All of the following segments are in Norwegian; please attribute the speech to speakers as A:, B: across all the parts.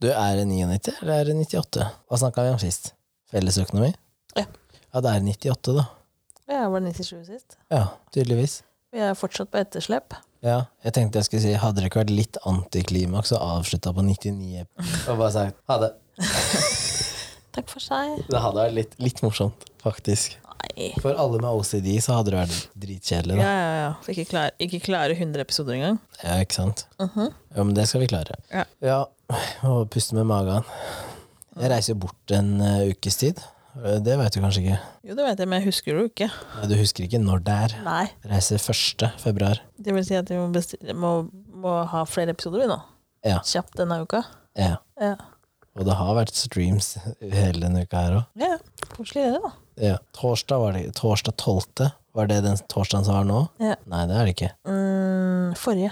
A: Du, er det 99 eller er det 98? Hva snakka vi om sist? Fellesøkonomi?
B: Ja.
A: Ja, det er 98, da.
B: Jeg var 97 sist.
A: Ja, tydeligvis.
B: Vi er fortsatt på etterslep.
A: Ja, jeg tenkte jeg skulle si Hadde det ikke vært litt antiklimaks å avslutta på 99 og bare sagt ha det?
B: Takk for seg.
A: Det hadde vært litt, litt morsomt, faktisk.
B: Nei.
A: For alle med OCD så hadde det vært dritkjedelig,
B: Ja,
A: da.
B: ja, ja. Fikk ikke klare, ikke klare 100 episoder engang.
A: Ja, ikke sant?
B: Mhm.
A: Ja, men det skal vi klare.
B: Ja.
A: og puste med magen. Jeg reiser jo bort en eh, ukes tid. Eh, Det vet du kanskje ikke.
B: Jo, det vet jeg, men jeg husker det jo ikke.
A: Nei, Du husker ikke når det er.
B: Nei.
A: Reiser 1. februar.
B: Det vil si at vi må, bestille, må, må ha flere episoder vi nå.
A: Ja.
B: Kjapt denne uka.
A: Ja.
B: Ja.
A: Og det har vært streams hele denne uka her òg.
B: ja. Koselig det, da.
A: Ja. Torsdag, var det, torsdag 12. Var det den torsdagen som var nå?
B: Ja.
A: Nei, det er det ikke.
B: Mm, forrige.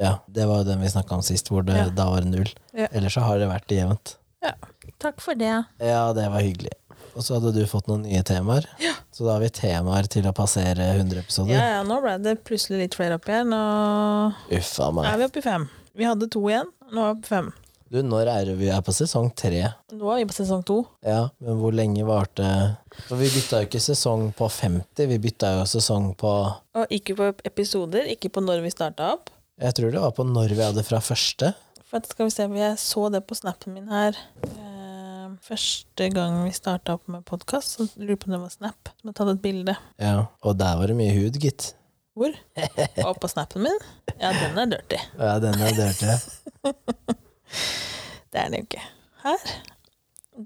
A: Ja, Det var jo den vi snakka om sist, hvor det
B: Ja.
A: da var det null.
B: Ja.
A: Ellers så har det vært jevnt.
B: Ja. Takk for det.
A: Ja, det var hyggelig. Og så hadde du fått noen nye temaer. Så da har vi temaer til å passere 100
B: Ja,
A: episoder.
B: ja, nå ble det plutselig litt flere opp igjen. Nå
A: Uff a
B: er
A: meg.
B: vi oppe i fem. Vi hadde to igjen, nå er vi oppe i fem.
A: Du, når er det vi er på sesong tre?
B: Nå er vi på sesong to.
A: Ja, men hvor lenge varte For vi bytta jo ikke sesong på 50, vi bytta jo sesong på
B: Og ikke på episoder, ikke på når vi starta opp.
A: Jeg tror det var på når vi hadde fra første.
B: For at skal vi se, Jeg så det på snappen min her. Eh, Første gang vi starta opp med podkast, så lurer jeg på om det var Snap som hadde tatt et bilde.
A: Ja, Og der var det mye hud, gitt.
B: Hvor? Og på snappen min? Ja, den er dirty.
A: Ja, den er dørte.
B: Det er den jo ikke. Her.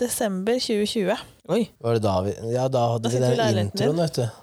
B: Desember 2020. Oi.
A: Var det da vi Ja, da hadde
B: Da
A: vi
B: sitter vi i
A: den
B: leiligheten
A: introen,
B: din.
A: vet du.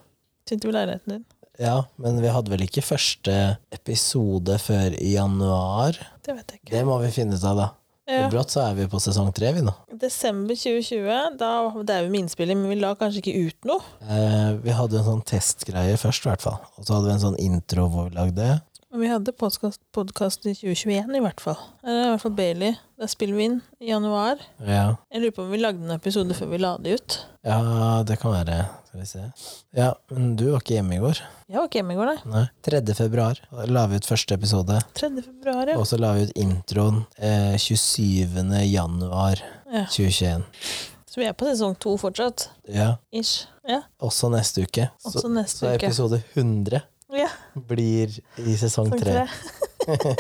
B: Sitter du i leiligheten din?
A: Ja, men vi hadde vel ikke første episode før i januar?
B: Det vet jeg ikke.
A: Det må vi finne ut av, da.
B: Ja.
A: Og brått så er vi på sesong tre, vi nå.
B: Desember 2020. Da det er jo med innspilling, men vi la kanskje ikke ut noe.
A: Eh, vi hadde en sånn testgreie først, i hvert fall. Og så hadde vi en sånn intro hvor vi lagde det.
B: Men vi hadde podkast i 2021, i hvert fall. Eller i hvert fall Bailey. Da spiller vi inn i januar.
A: Ja.
B: Jeg lurer på om vi lagde en episode før vi la det ut.
A: ja, det kan være. Skal vi se. Ja, men du var ikke hjemme i går.
B: Jeg var ikke hjemme i går, nei.
A: Nei. 3. februar la vi ut første episode.
B: 3. februar, ja.
A: Og så la vi ut introen eh, 27. januar
B: ja.
A: 2021.
B: Så vi er på sesong to fortsatt.
A: Ja.
B: Ish. Ja,
A: Også neste uke.
B: også
A: Så, så
B: neste uke.
A: episode 100
B: Ja,
A: blir i sesong
B: sesong
A: tre.
B: tre.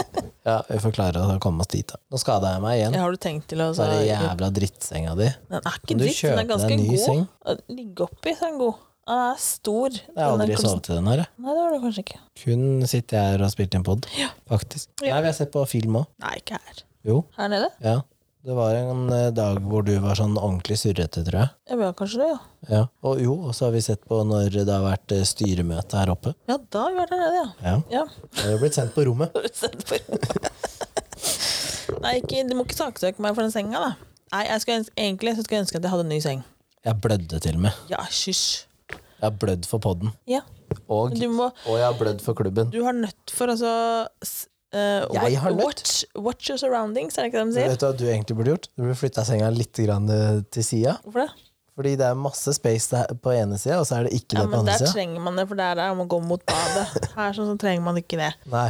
A: Ja, vi får klare å komme oss dit, da. Nå skada jeg meg igjen.
B: Ja, har du tenkt til å
A: Så er det jævla drittsenga di.
B: Den er ikke
A: Kan du
B: dritt, den er
A: kjøpe deg
B: ganske
A: en ny
B: god.
A: seng?
B: Å ligge oppi, så er den god. Den er stor.
A: Jeg har aldri sovet i den her. jeg.
B: Nei, det har du kanskje ikke.
A: Kun sitter jeg her og spilt inn pod,
B: Ja.
A: faktisk.
B: Ja.
A: Nei, vi har sett på film òg.
B: Nei, ikke her.
A: Jo.
B: Her nede?
A: Ja. Det var en eh, dag hvor du var sånn ordentlig surrete, tror jeg.
B: Ja, vi har kanskje det, ja.
A: Ja. Og jo, og så har vi sett på når det har vært eh, styremøte her oppe.
B: Ja, da har vi vært her nede, ja.
A: Ja.
B: Ja,
A: Det har jo blitt sendt på rommet.
B: har du sett på Nei, ikke, du må ikke saksøke meg for den senga, da. Nei, jeg skulle, ønske- egentlig så skulle jeg ønske at jeg hadde en ny seng.
A: Jeg blødde til og med.
B: Ja, hysj.
A: Jeg har blødd for poden.
B: Ja.
A: Og,
B: Men du må
A: og jeg har blødd for klubben.
B: Du har nødt for altså s- eh,
A: Jeg har nødt.
B: Watch, watch your surroundings, er det ikke det de sier?
A: Vet du hva du egentlig burde gjort? Du burde flytta senga litt grann eh, til sida.
B: Hvorfor det?
A: Fordi det er masse space der på ene sida, og så er det ikke
B: Ja,
A: det på
B: men
A: andre
B: Der
A: sida.
B: trenger man det, for der er man går mot badet. Her sånn, så trenger man ikke det.
A: Nei.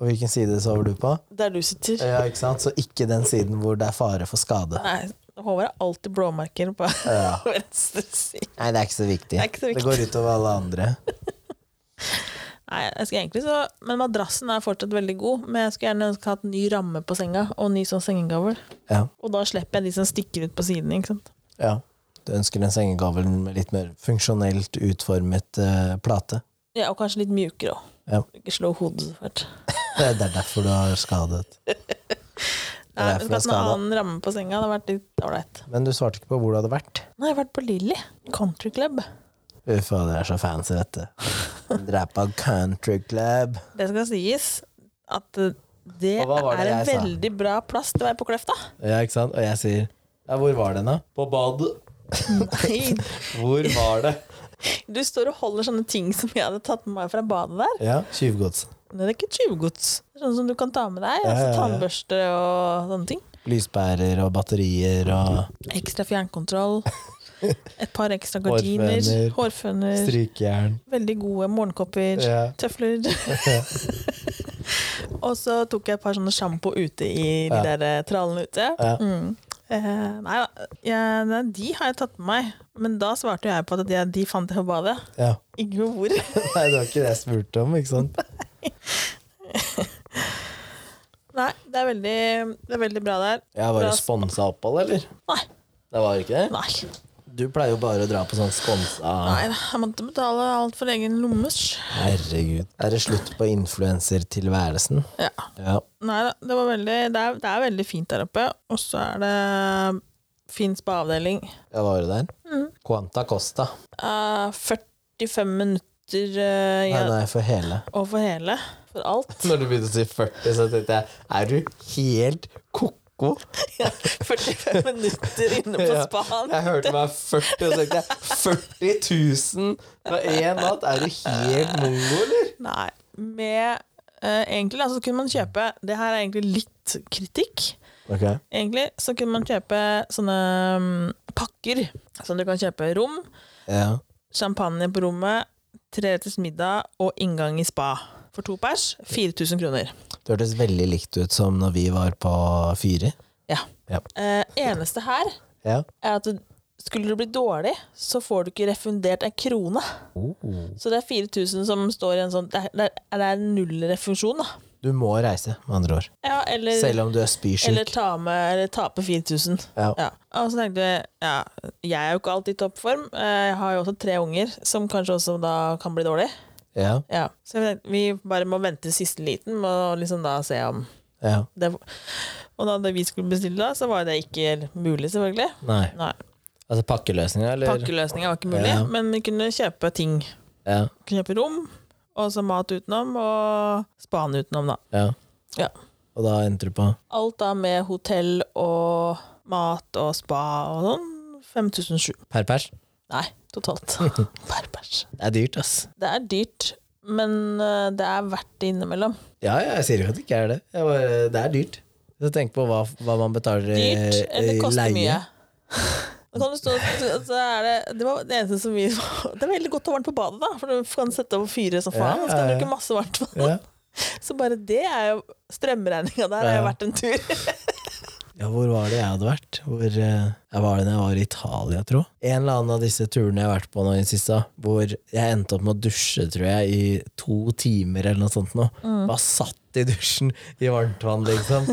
A: Og hvilken side sover du på?
B: Der du sitter.
A: Ja, ikke sant? Så ikke den siden hvor det er fare for skade.
B: Nei, Håvard har alltid blåmerker på venstre side.
A: Nei, det er ikke så viktig.
B: Det er ikke så
A: Det går utover alle andre.
B: Nei, jeg skal egentlig så Men madrassen er fortsatt veldig god, men jeg skulle gjerne ønske hatt ny ramme på senga, og ny sånn sengegavl.
A: Ja.
B: Og da slipper jeg de som stikker ut på siden, ikke sant.
A: ja. Du ønsker en sengegavl med litt mer funksjonelt utformet eh, plate.
B: Ja, og kanskje litt mjukere òg.
A: Ja.
B: Ikke slå hodet så fælt.
A: Det er derfor du har skadet. Det
B: Nei,
A: er derfor du har
B: jeg skulle hatt en
A: skadet.
B: annen ramme på senga, det hadde vært litt ålreit.
A: Men du svarte ikke på hvor du hadde vært.
B: Nå har jeg vært på Lilly Country Club.
A: Uff, det er så fancy, vet du. Drepa country club.
B: Det skal sies at eh, det,
A: Og hva var det
B: er en
A: jeg sa?
B: veldig bra plass til å være på Kløfta.
A: Ja, ikke sant? Og jeg sier Ja, hvor var den, da? På badet.
B: Nei,
A: Hvor var det?
B: du står og holder sånne ting som jeg hadde tatt med meg fra badet der.
A: Ja, Tjuvgods.
B: Men Det er ikke tjuvgods. Det er Sånn som du kan ta med deg.
A: Ja,
B: Altså
A: ja, ja.
B: tannbørste og sånne ting.
A: Lyspærer og batterier og
B: Ekstra fjernkontroll. Et par ekstra gardiner.
A: Hårføner.
B: Hårføner.
A: strykejern.
B: Veldig gode morgenkopper.
A: Ja.
B: Tøfler. Og så tok jeg et par sånne sjampo ute i de
A: Ja.
B: der eh, trallene ute.
A: Ja.
B: Mm. Eh, nei da, jeg- nei, de har jeg tatt med meg. Men da svarte jeg på at jeg, de fant jeg på badet.
A: Ja.
B: Ikke noe hvor.
A: Nei, det var ikke det jeg spurte om, ikke sant?
B: Nei, det er veldig, det er veldig bra der.
A: Ja, Var det sponsa opphold, eller?
B: Nei.
A: Det var ikke det?
B: Nei.
A: Du pleier jo bare å dra på sånn sponsa
B: nei da, jeg måtte betale alt for egen lommers.
A: Herregud. Er det slutt på influensertilværelsen?
B: Ja.
A: Ja.
B: Nei da, det, var veldig, det, er, det er veldig fint der oppe. Og så er det fin spaavdeling.
A: Ja, var det der?
B: Mm.
A: Quanta Costa.
B: Eh, 45 minutter eh,
A: Nei,
B: ja,
A: nei, for hele.
B: og for hele. For alt.
A: Når du begynte å si 40, så tenkte jeg Er du helt ko-ko?
B: Ja, 45 minutter inne på
A: Ja.
B: spaen.
A: Jeg hørte meg 40, og så tenkte jeg 40 000 på én natt? Er du helt mongo, eller?
B: Nei. Med eh, Egentlig da, så kunne man kjøpe Det her er egentlig litt kritikk.
A: Ok.
B: Egentlig så kunne man kjøpe sånne mm, pakker. Som du kan kjøpe rom,
A: Ja.
B: champagne på rommet, treretters middag og inngang i spa. For to pers 4000 kroner.
A: Det hørtes veldig likt ut som når vi var på Fyri.
B: Ja.
A: Ja.
B: Eh, eneste her
A: Ja.
B: er at du, skulle du bli dårlig, så får du ikke refundert ei krone.
A: Oh.
B: Så det er 4000 som står i en sånn Det er, det er- det er null refusjon, da.
A: Du må reise, med andre ord.
B: Ja, eller,
A: Selv om du er
B: eller,
A: spysjuk.
B: ta med, eller tape 4000.
A: Ja.
B: Ja. Og så tenkte jeg ja, jeg er jo ikke alltid i toppform. Eh, Jeg har jo også tre unger som kanskje også da kan bli dårlig.
A: Ja.
B: Ja. Så vi tenkte, vi bare må vente siste liten og liksom da se om
A: ja.
B: det Og da det vi skulle bestille da, så var det ikke mulig, selvfølgelig.
A: Nei.
B: Nei,
A: Altså pakkeløsninga, eller?
B: Pakkeløsninga var ikke mulig,
A: Ja.
B: men vi kunne kjøpe ting.
A: Ja.
B: Kunne kjøpe rom, og så mat utenom, og span utenom, da.
A: ja.
B: Ja.
A: Og da endte du på
B: Alt da med hotell og mat og spa og sånn. 5007.
A: per pers?
B: Nei, totalt. Per pers.
A: Det er dyrt, ass.
B: Det er dyrt, men eh, det er verdt det innimellom.
A: Ja, ja, jeg sier jo at det ikke er det. Jeg bare, det er dyrt. Så tenk på hva, hva man betaler i
B: Dyrt, eller det
A: i
B: koster
A: Eh, leie.
B: mye. Da kan du stå, så er det, det var det eneste som vi Det er veldig godt og varmt på badet, da, for du kan sette opp fyret som
A: Ja,
B: faen. og Så
A: ja,
B: kan du
A: ja.
B: bruke masse varmt vann.
A: Ja.
B: Så bare det er jo Strømregninga der er
A: Ja.
B: jo verdt en tur.
A: ja, hvor var det jeg hadde vært? Hvor, eh, jeg var det når jeg var i Italia, tro. En eller annen av disse turene jeg har vært på nå i det siste, hvor jeg endte opp med å dusje, tror jeg, i to timer eller noe sånt nå. Bare satt i dusjen i varmt vann, liksom.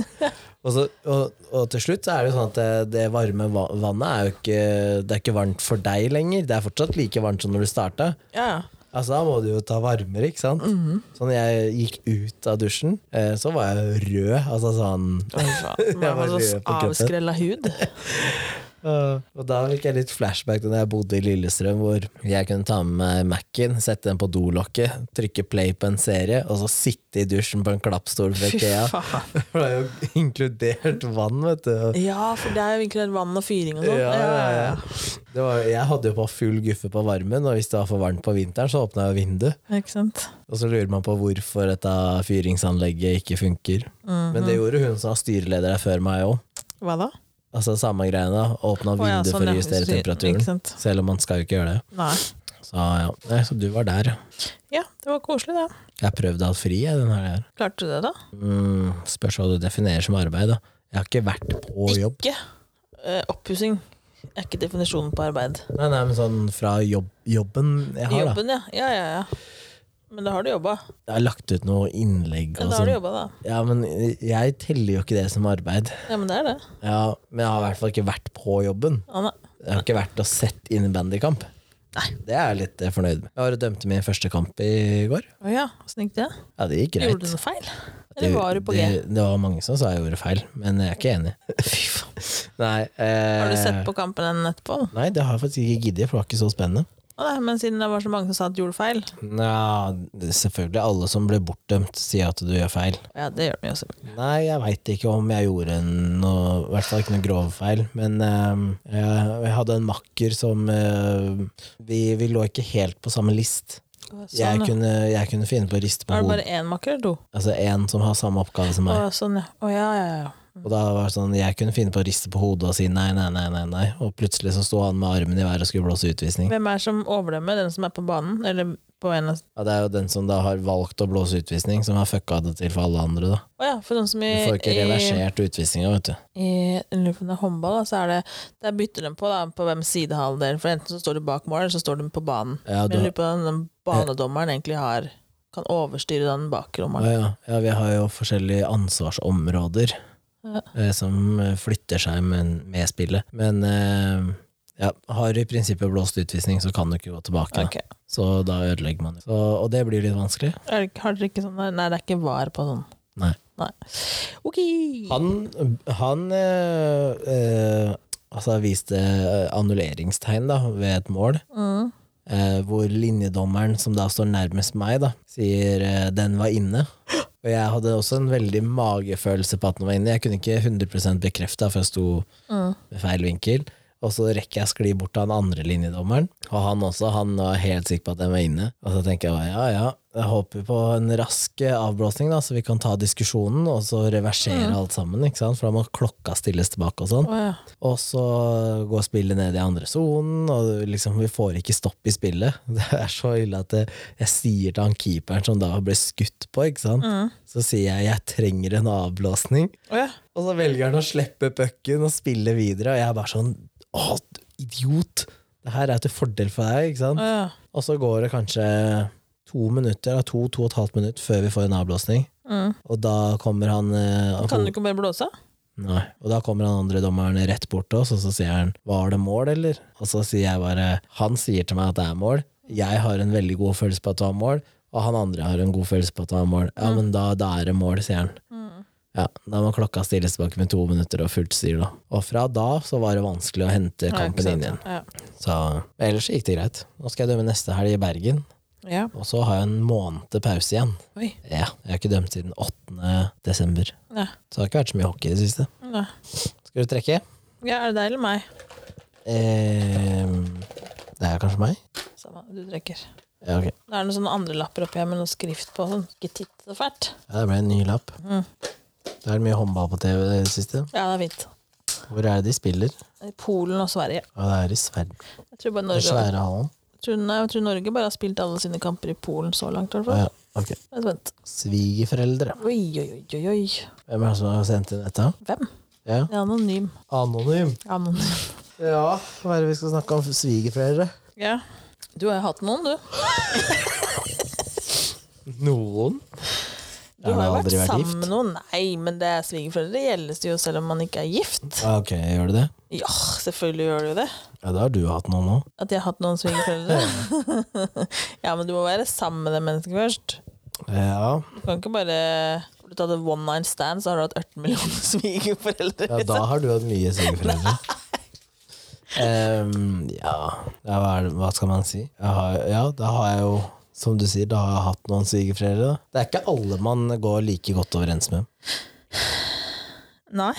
A: Og, så, og, og til slutt så er det jo sånn at det, det varme va- vannet er jo ikke, det er ikke varmt for deg lenger. Det er fortsatt like varmt som når du starta.
B: Ja,
A: Altså, da må du jo ta varmere, ikke sant? Så når jeg gikk ut av dusjen, eh, så var jeg rød. Altså sånn
B: ja.
A: Jeg var
B: Med
A: rød
B: sånn
A: på kroppen.
B: avskrella hud.
A: øh, Og da fikk jeg litt flashback til da jeg bodde i Lillestrøm, hvor jeg kunne ta med meg Mac-en, sette den på dolokket, trykke play på en serie, og så sitte i dusjen på en klappstol fra
B: Fy
A: Ikea.
B: faen.
A: For det er jo inkludert vann, vet du.
B: Ja, for det er jo egentlig vann og fyring og
A: Ja,
B: sånn.
A: ja, ja. Det var, jeg hadde jo på full guffe på varmen, og hvis det var for varmt på vinteren, så åpna jeg jo vinduet.
B: Ikke sant?
A: Og så lurer man på hvorfor dette fyringsanlegget ikke funker.
B: Mhm.
A: Men det gjorde hun som var styreleder her før meg òg.
B: Hva da?
A: Altså samme greiene. Åpna
B: Å, ja,
A: vinduet
B: sånn,
A: for
B: ja.
A: å justere
B: Justering,
A: temperaturen.
B: Ikke sant?
A: Selv om man skal jo ikke gjøre det.
B: Nei.
A: Så, ja. Nei, så du var der, ja.
B: Ja, det var koselig, det.
A: Jeg har prøvd alt fri, jeg, den her.
B: Klarte du det, da?
A: Mm, spørs hva du definerer som arbeid, da. Jeg har ikke vært på jobb.
B: Ikke uh, oppussing. Er ikke definisjonen på arbeid.
A: Nei, nei, men sånn fra jobb, jobben jeg har, da.
B: Jobben, ja. Ja, ja, ja. Men da har du jobba.
A: Jeg har lagt ut noe innlegg
B: Ja,
A: og
B: da har du
A: sånn.
B: jobba, da.
A: Ja, men jeg teller jo ikke det som arbeid.
B: Ja, men det er det.
A: Ja, men jeg har i hvert fall ikke vært på jobben.
B: Anna.
A: Jeg har ikke vært og sett innebandykamp. Det er jeg litt eh, fornøyd med. Jeg var og dømte min første kamp i går.
B: Å ja, åssen gikk det?
A: Ja, det gikk greit.
B: Gjorde du noe feil? Eller var du på
A: det,
B: G?
A: det, det var mange som sa jeg gjorde feil, men jeg er ikke enig. Fy faen. Nei, eh,
B: Har du sett på kampen den etterpå?
A: Nei, det har jeg faktisk ikke giddet, for det var ikke så spennende.
B: Å nei, men siden det var så mange som sa at du gjorde feil.
A: Nja, selvfølgelig. Alle som blir bortdømt, sier at du gjør feil.
B: Ja, det gjør vi jo selvfølgelig.
A: Nei, jeg veit ikke om jeg gjorde noe I hvert fall ikke noe grov feil. Men eh, jeg, jeg hadde en makker som eh, vi, vi lå ikke helt på samme list.
B: Sånn,
A: jeg,
B: ja.
A: kunne, jeg kunne finne på å riste på
B: Var det
A: hodet.
B: bare én makker eller to?
A: Altså en som har samme oppgave som
B: Å,
A: meg.
B: sånn, ja. Å, ja, ja, ja.
A: Og da var det sånn, jeg kunne finne på å riste på hodet og si nei, nei, nei, nei, nei. Og plutselig så sto han med armen i været og skulle blåse utvisning.
B: Hvem er det som overdømmer den som er på banen? Eller på en av
A: Ja, det er jo den som da har valgt å blåse utvisning, som har fucka det til for alle andre, da.
B: Å ja, for sånn som i
A: Du får ikke
B: i-
A: reversert utvisninga, vet du.
B: i jeg lurer på om det er håndball, da, så er det Der bytter de på da, på hvem sidehalvdel. For enten så står du bak mål, eller så står du på banen.
A: Ja,
B: Men
A: du
B: jeg
A: har,
B: lurer på om den banedommeren egentlig har kan overstyre den
A: Å
B: bakrommeren.
A: ja, ja, vi har jo forskjellige ansvarsområder
B: Ja.
A: eh, som eh, flytter seg med, med spillet. Men eh, ja, har du i prinsippet blåst utvisning, så kan du ikke gå tilbake. da.
B: Ok.
A: Så da ødelegger man det. Så, og det blir litt vanskelig.
B: Er det- Har dere ikke sånn der? Nei, det er ikke var på sånn.
A: Nei.
B: Ok.
A: Han, han eh, eh, altså viste eh, annulleringstegn da, ved et mål,
B: Mm.
A: eh, hvor linjedommeren, som da står nærmest meg, da, sier eh, 'den var inne'. Og jeg hadde også en veldig magefølelse på at den var inne. Jeg kunne ikke 100 bekrefte, for jeg sto
B: Mm.
A: ved feil vinkel. Og så rekker jeg å skli bort til han andre linjedommeren, og han også. Han var helt sikker på at den var inne. Og så tenker jeg ja, ja, jeg håper på en rask eh, avblåsning, da, så vi kan ta diskusjonen, og så reversere alt sammen, ikke sant? for da må klokka stilles tilbake og sånn.
B: Å ja.
A: Og så går spillet ned i andre sonen, og liksom, vi får ikke stopp i spillet. Det er så ille at det, jeg sier til han keeperen som da ble skutt på, ikke sant?
B: Mm.
A: så sier jeg jeg trenger en avblåsning.
B: Å ja.
A: Og så velger han å slippe pucken og spille videre, og jeg er bare sånn Å, idiot! Det her er til fordel for deg, ikke
B: Å
A: sant?
B: ja.
A: Og så går det kanskje to minutter, da, to, to og et halvt minutt før vi får en avblåsning.
B: Mm.
A: Og da kommer han eh,
B: Kan du ikke bare blåse?
A: Nei. Og da kommer han andre dommeren rett bort til oss, og så sier han 'var det mål', eller? Og så sier jeg bare Han sier til meg at det er mål. Jeg har en veldig god følelse på at det var mål, og han andre har en god følelse på at det var mål. Ja, men da, da er det mål, sier han.
B: Mm.
A: Ja, Da må klokka stilles tilbake med to minutter og fullt styr, da. Og fra da så var det vanskelig å hente
B: Ja, ikke
A: kampen inn igjen.
B: sant? Ja.
A: Så men ellers gikk det greit. Nå skal jeg dømme neste helg i Bergen,
B: ja.
A: og så har jeg en måned pause igjen.
B: Oi.
A: Ja, jeg har ikke dømt siden 8. desember.
B: Nei.
A: Så det har ikke vært så mye hockey i det siste.
B: Nei.
A: Skal du trekke?
B: Ja, er det deg eller meg?
A: Ehm, det er kanskje meg?
B: Samme, du trekker.
A: Ja, ok.
B: Det er noen sånne andre lapper oppi her med noe skrift på. Sånn. Ikke titt så fælt.
A: Ja, det ble en ny lapp.
B: Mm.
A: Det er mye håndball på TV i det siste.
B: Ja, det er fint.
A: Hvor er det de spiller?
B: I Polen og Sverige.
A: Ja, det er i Sverige.
B: Jeg tror bare
A: Den
B: Norge
A: svære hallen.
B: Jeg tror, nei, jeg tror Norge bare har spilt alle sine kamper i Polen så langt. i hvert fall.
A: Ja, ok.
B: Jeg er spent.
A: Svigerforeldre.
B: Oi, oi, oi, oi, oi.
A: Hvem er det som har sendt inn dette?
B: Hvem?
A: Ja.
B: Jeg er anonym.
A: Anonym.
B: Jeg er anonym.
A: Ja, hva er det vi skal snakke om? Svigerforeldre?
B: Ja. Du har jo hatt noen, du.
A: Noen?
B: Du
A: Jeg har
B: har jo vært
A: aldri vært
B: sammen
A: gift.
B: med noen. Nei, men det er svigerforeldre gjelder jo selv om man ikke er gift.
A: Ja, ok, gjør du det?
B: Ja, selvfølgelig gjør det jo det.
A: Ja, da har du hatt noen òg.
B: At jeg har hatt noen svigerforeldre. ja, men du må være sammen med det mennesket først.
A: Ja.
B: Du kan ikke bare Har du tatt et one night stand, så har du hatt 18 millioner svigerforeldre.
A: ja, da har du hatt mye svigerforeldre. Ehm, ja, ja hva, er, det- hva skal man si? Jeg har, ja, da har jeg jo, som du sier, da har jeg hatt noen svigerforeldre. da. Det er ikke alle man går like godt overens med.
B: Nei.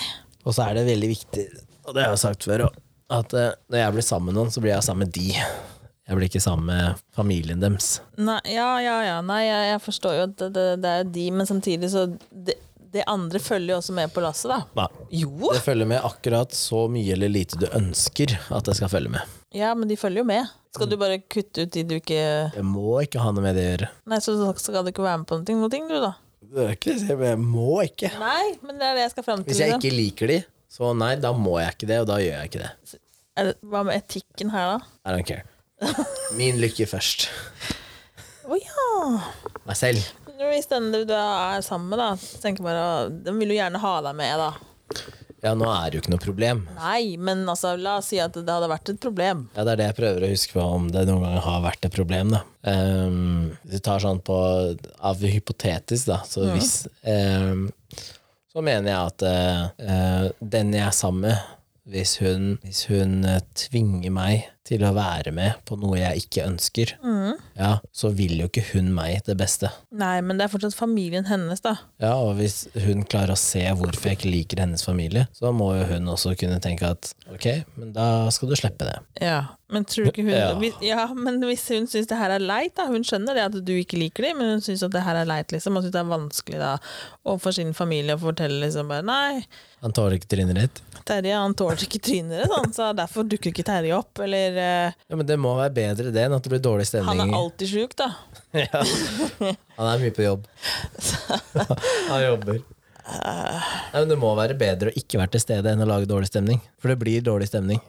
A: Og så er det veldig viktig, og det har jeg sagt før òg, at eh, når jeg blir sammen med noen, så blir jeg sammen med de. Jeg blir ikke sammen med familien deres.
B: Nei, ja, ja, ja. Nei, jeg, jeg forstår jo at det, det, det er de, men samtidig så det, det andre følger jo også med på lasset, da.
A: Nei.
B: Jo!
A: Det følger med akkurat så mye eller lite du ønsker at det skal følge med.
B: Ja, men de følger jo med. Skal du bare kutte ut de du ikke
A: Jeg må ikke ha noe med det å gjøre.
B: Nei, så så skal du ikke være med på noen ting, noen ting du, da.
A: Det er ikke, jeg må ikke.
B: Nei, men det er det jeg skal fram til.
A: Hvis jeg
B: liksom.
A: ikke liker de, så nei, da må jeg ikke det, og da gjør jeg ikke det.
B: Er det, hva med etikken her, da?
A: I don't care. Min lykke først.
B: Å ja!
A: Meg selv.
B: Men Hvis den du da er sammen med, da, så tenker jeg bare å, Den vil jo gjerne ha deg med, da.
A: Ja, nå er det jo ikke noe problem.
B: Nei, men altså, la oss si at det hadde vært et problem.
A: Ja, Det er det jeg prøver å huske på, om det noen gang har vært et problem. da. Ehm, hvis du tar sånn på av hypotetisk, da, så hvis ehm, Så mener jeg at eh, eh, den jeg er sammen med, hvis hun, hvis hun eh, tvinger meg til å være med på noe jeg ikke ønsker, ja, så vil jo ikke hun meg det beste.
B: Nei, men det er fortsatt familien hennes, da.
A: Ja, og hvis hun klarer å se hvorfor jeg ikke liker hennes familie, så må jo hun også kunne tenke at ok, men da skal du slippe det.
B: Ja, men tror du ikke hun
A: Ja.
B: hvis, ja, men hvis hun syns det her er leit, da Hun skjønner det at du ikke liker dem, men hun syns at det her er leit, liksom. Og syns det er vanskelig da overfor sin familie å fortelle liksom bare Nei,
A: Han tåler ikke trynet ditt.
B: Terje han tåler tåler ikke trynet deres, han, så derfor dukker ikke Terje opp. Eller eh,
A: Ja, men det må være bedre det enn at det blir dårlig stemning.
B: Han er alltid sjuk, da.
A: ja. Han er mye på jobb. Han jobber. Nei, men det må være bedre å ikke være til stede enn å lage dårlig stemning. For det blir dårlig stemning.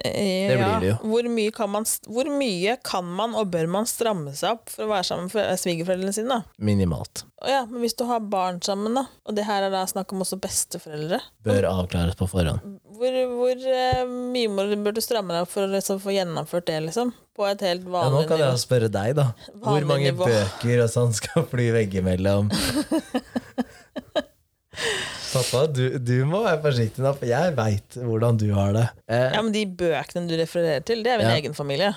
B: Eh,
A: Det blir det jo.
B: Hvor mye, kan man, st- hvor mye kan man og bør man stramme seg opp for å være sammen med eh, svigerforeldrene sine? da?
A: Minimalt.
B: Å ja, men hvis du har barn sammen, da, og det her er da snakk om også besteforeldre,
A: Bør avklares på forhånd.
B: hvor, hvor eh, mye må du, bør du stramme deg opp for å liksom, få gjennomført det, liksom? På et helt
A: Ja, nå
B: vanlig
A: kan jeg spørre deg, da. Hvor
B: Vanlig
A: mange
B: nivå.
A: bøker og sånn skal fly veggimellom? Pappa, du, du må være forsiktig nå, for jeg veit hvordan du har det. Eh,
B: Ja, men de bøkene du refererer til, det er min
A: Ja.
B: egen familie.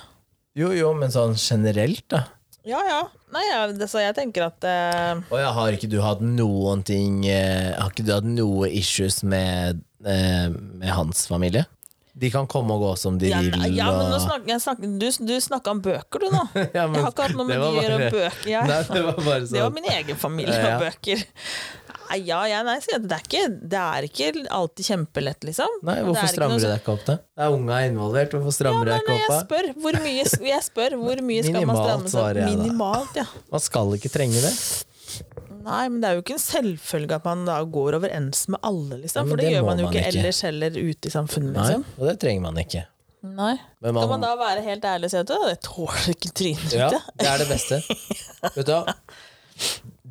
A: jo, jo, men sånn generelt, da.
B: Ja, ja. Nei, ja, det, så jeg tenker at eh,
A: Og jeg har ikke du hatt noen ting eh, Har ikke du hatt noe issues med, eh, med hans familie? De kan komme og gå som de
B: ja,
A: vil.
B: nei, ja, men nå
A: og-
B: snakker, jeg snakker, Du, du snakka om bøker, du, nå.
A: Ja, men
B: Jeg har ikke hatt
A: det
B: noe med de
A: var
B: å gjøre.
A: bare-
B: Bøker. Jeg,
A: Nei, det var bare
B: Det var
A: sånn.
B: min egen familie
A: Ja, ja.
B: og bøker. Nei, ja, ja, nei, sier jeg, det er, ikke, det er ikke alltid kjempelett, liksom.
A: Nei,
B: Det er
A: hvorfor
B: ikke
A: strammer
B: noe
A: du
B: sånn-
A: deg ikke opp, da? Det er unga involvert, hvorfor strammer du
B: Nei,
A: deg
B: nei,
A: ikke
B: jeg
A: opp? da?
B: spør hvor mye, jeg spør, hvor mye skal man
A: Minimalt,
B: stramme
A: svarer
B: seg
A: jeg da.
B: Minimalt, ja.
A: Man skal ikke trenge det.
B: Nei, men det er jo ikke en selvfølge at man da går overens med alle,
A: Ja,
B: liksom.
A: men
B: For det,
A: det
B: gjør
A: må
B: man jo
A: man
B: ikke,
A: ikke.
B: ellers heller ute i samfunnet,
A: Nei,
B: liksom.
A: og det trenger man ikke.
B: Nei.
A: Men
B: Skal man
A: man,
B: da være helt ærlig og si at «Å, jeg tåler ikke trynet ditt,
A: ja,
B: jeg».
A: det er det beste. Vet du hva?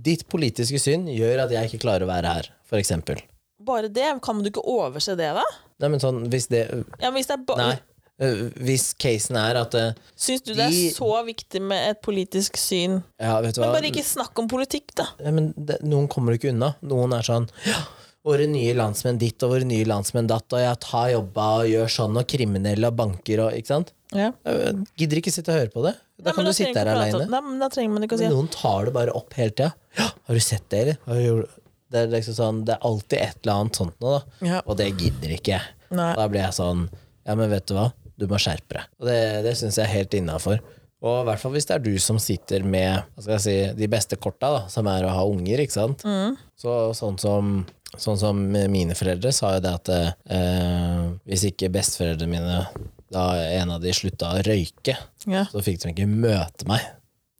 A: Ditt politiske syn gjør at jeg ikke klarer å være her, for eksempel.
B: Bare det? Kan du ikke overse det, da?
A: Nei, men sånn, hvis det
B: Ja, men hvis det er ba
A: Nei. øh, Hvis casen er at øh,
B: Syns du det er
A: De-
B: så viktig med et politisk syn?
A: Ja, vet du hva
B: Men bare ikke snakk om politikk, da.
A: Nei, men det, Noen kommer ikke unna. Noen er sånn ja, Våre nye landsmenn ditt og våre nye landsmenn datt, og jeg tar jobba og gjør sånn, og kriminelle og banker og Ikke sant? Jeg gidder ikke sitte og høre på det. Da
B: Nei, men
A: kan du sitte her
B: trenger ikke prate om-
A: aleine.
B: Nei, men da trenger man ikke å si
A: Men noen tar det bare opp hele tida. Ja, har du sett det, eller? Har du gjort- Det er liksom sånn Det er alltid et eller annet sånt nå, da.
B: Ja.
A: Og det gidder ikke jeg.
B: Nei.
A: Da blir jeg sånn Ja, men vet du hva? Du må skjerpe deg. Og det, det syns jeg er helt innafor. Og i hvert fall hvis det er du som sitter med hva skal jeg si, de beste korta, da, som er å ha unger, ikke sant.
B: Mm.
A: Så, sånn, som, sånn som mine foreldre sa jo det at eh, hvis ikke besteforeldrene mine, da en av de slutta å røyke,
B: Ja.
A: så fikk de ikke møte meg.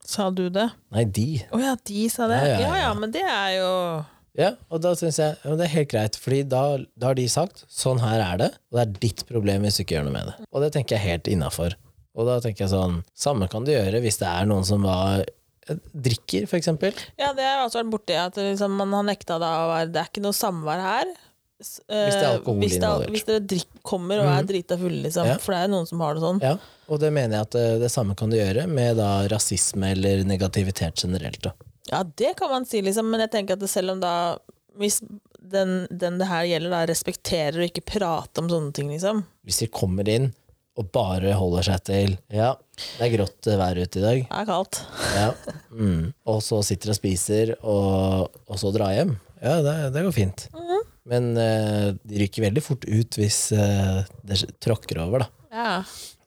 B: Sa du det?
A: Nei, de.
B: Å ja, de sa det?
A: Ja, ja,
B: Ja ja,
A: ja.
B: men det er jo
A: Ja, og da syns jeg ja, men det er helt greit, Fordi da, da har de sagt sånn her er det, og det er ditt problem hvis du ikke gjør noe med det. Og det tenker jeg helt innafor. Og da tenker jeg sånn, samme kan du gjøre hvis det er noen som var eh, drikker, for eksempel.
B: Ja, det har jeg også vært borti, at liksom, man har nekta da å være Det er ikke noe samvær her. S- eh,
A: Hvis det er alkohol
B: hvis det er-
A: involvert. Mhm.
B: Hvis dere drikk, kommer og er drita fulle, liksom.
A: Ja.
B: For det er jo noen som har det sånn.
A: Ja, og det mener jeg at eh, det samme kan du gjøre med da rasisme eller negativitet generelt. Da.
B: Ja, det kan man si, liksom, men jeg tenker at det selv om da Hvis den, den det her gjelder, da respekterer og ikke prater om sånne ting, liksom.
A: Hvis de kommer inn og bare holder seg til Ja, det er grått eh, vær ute i dag.
B: Det er kaldt.
A: Ja. Mm. Og så sitter og spiser, og, og så dra hjem. Ja, det, det går fint. Men eh, de ryker veldig fort ut hvis eh, det tråkker over, da.
B: Ja.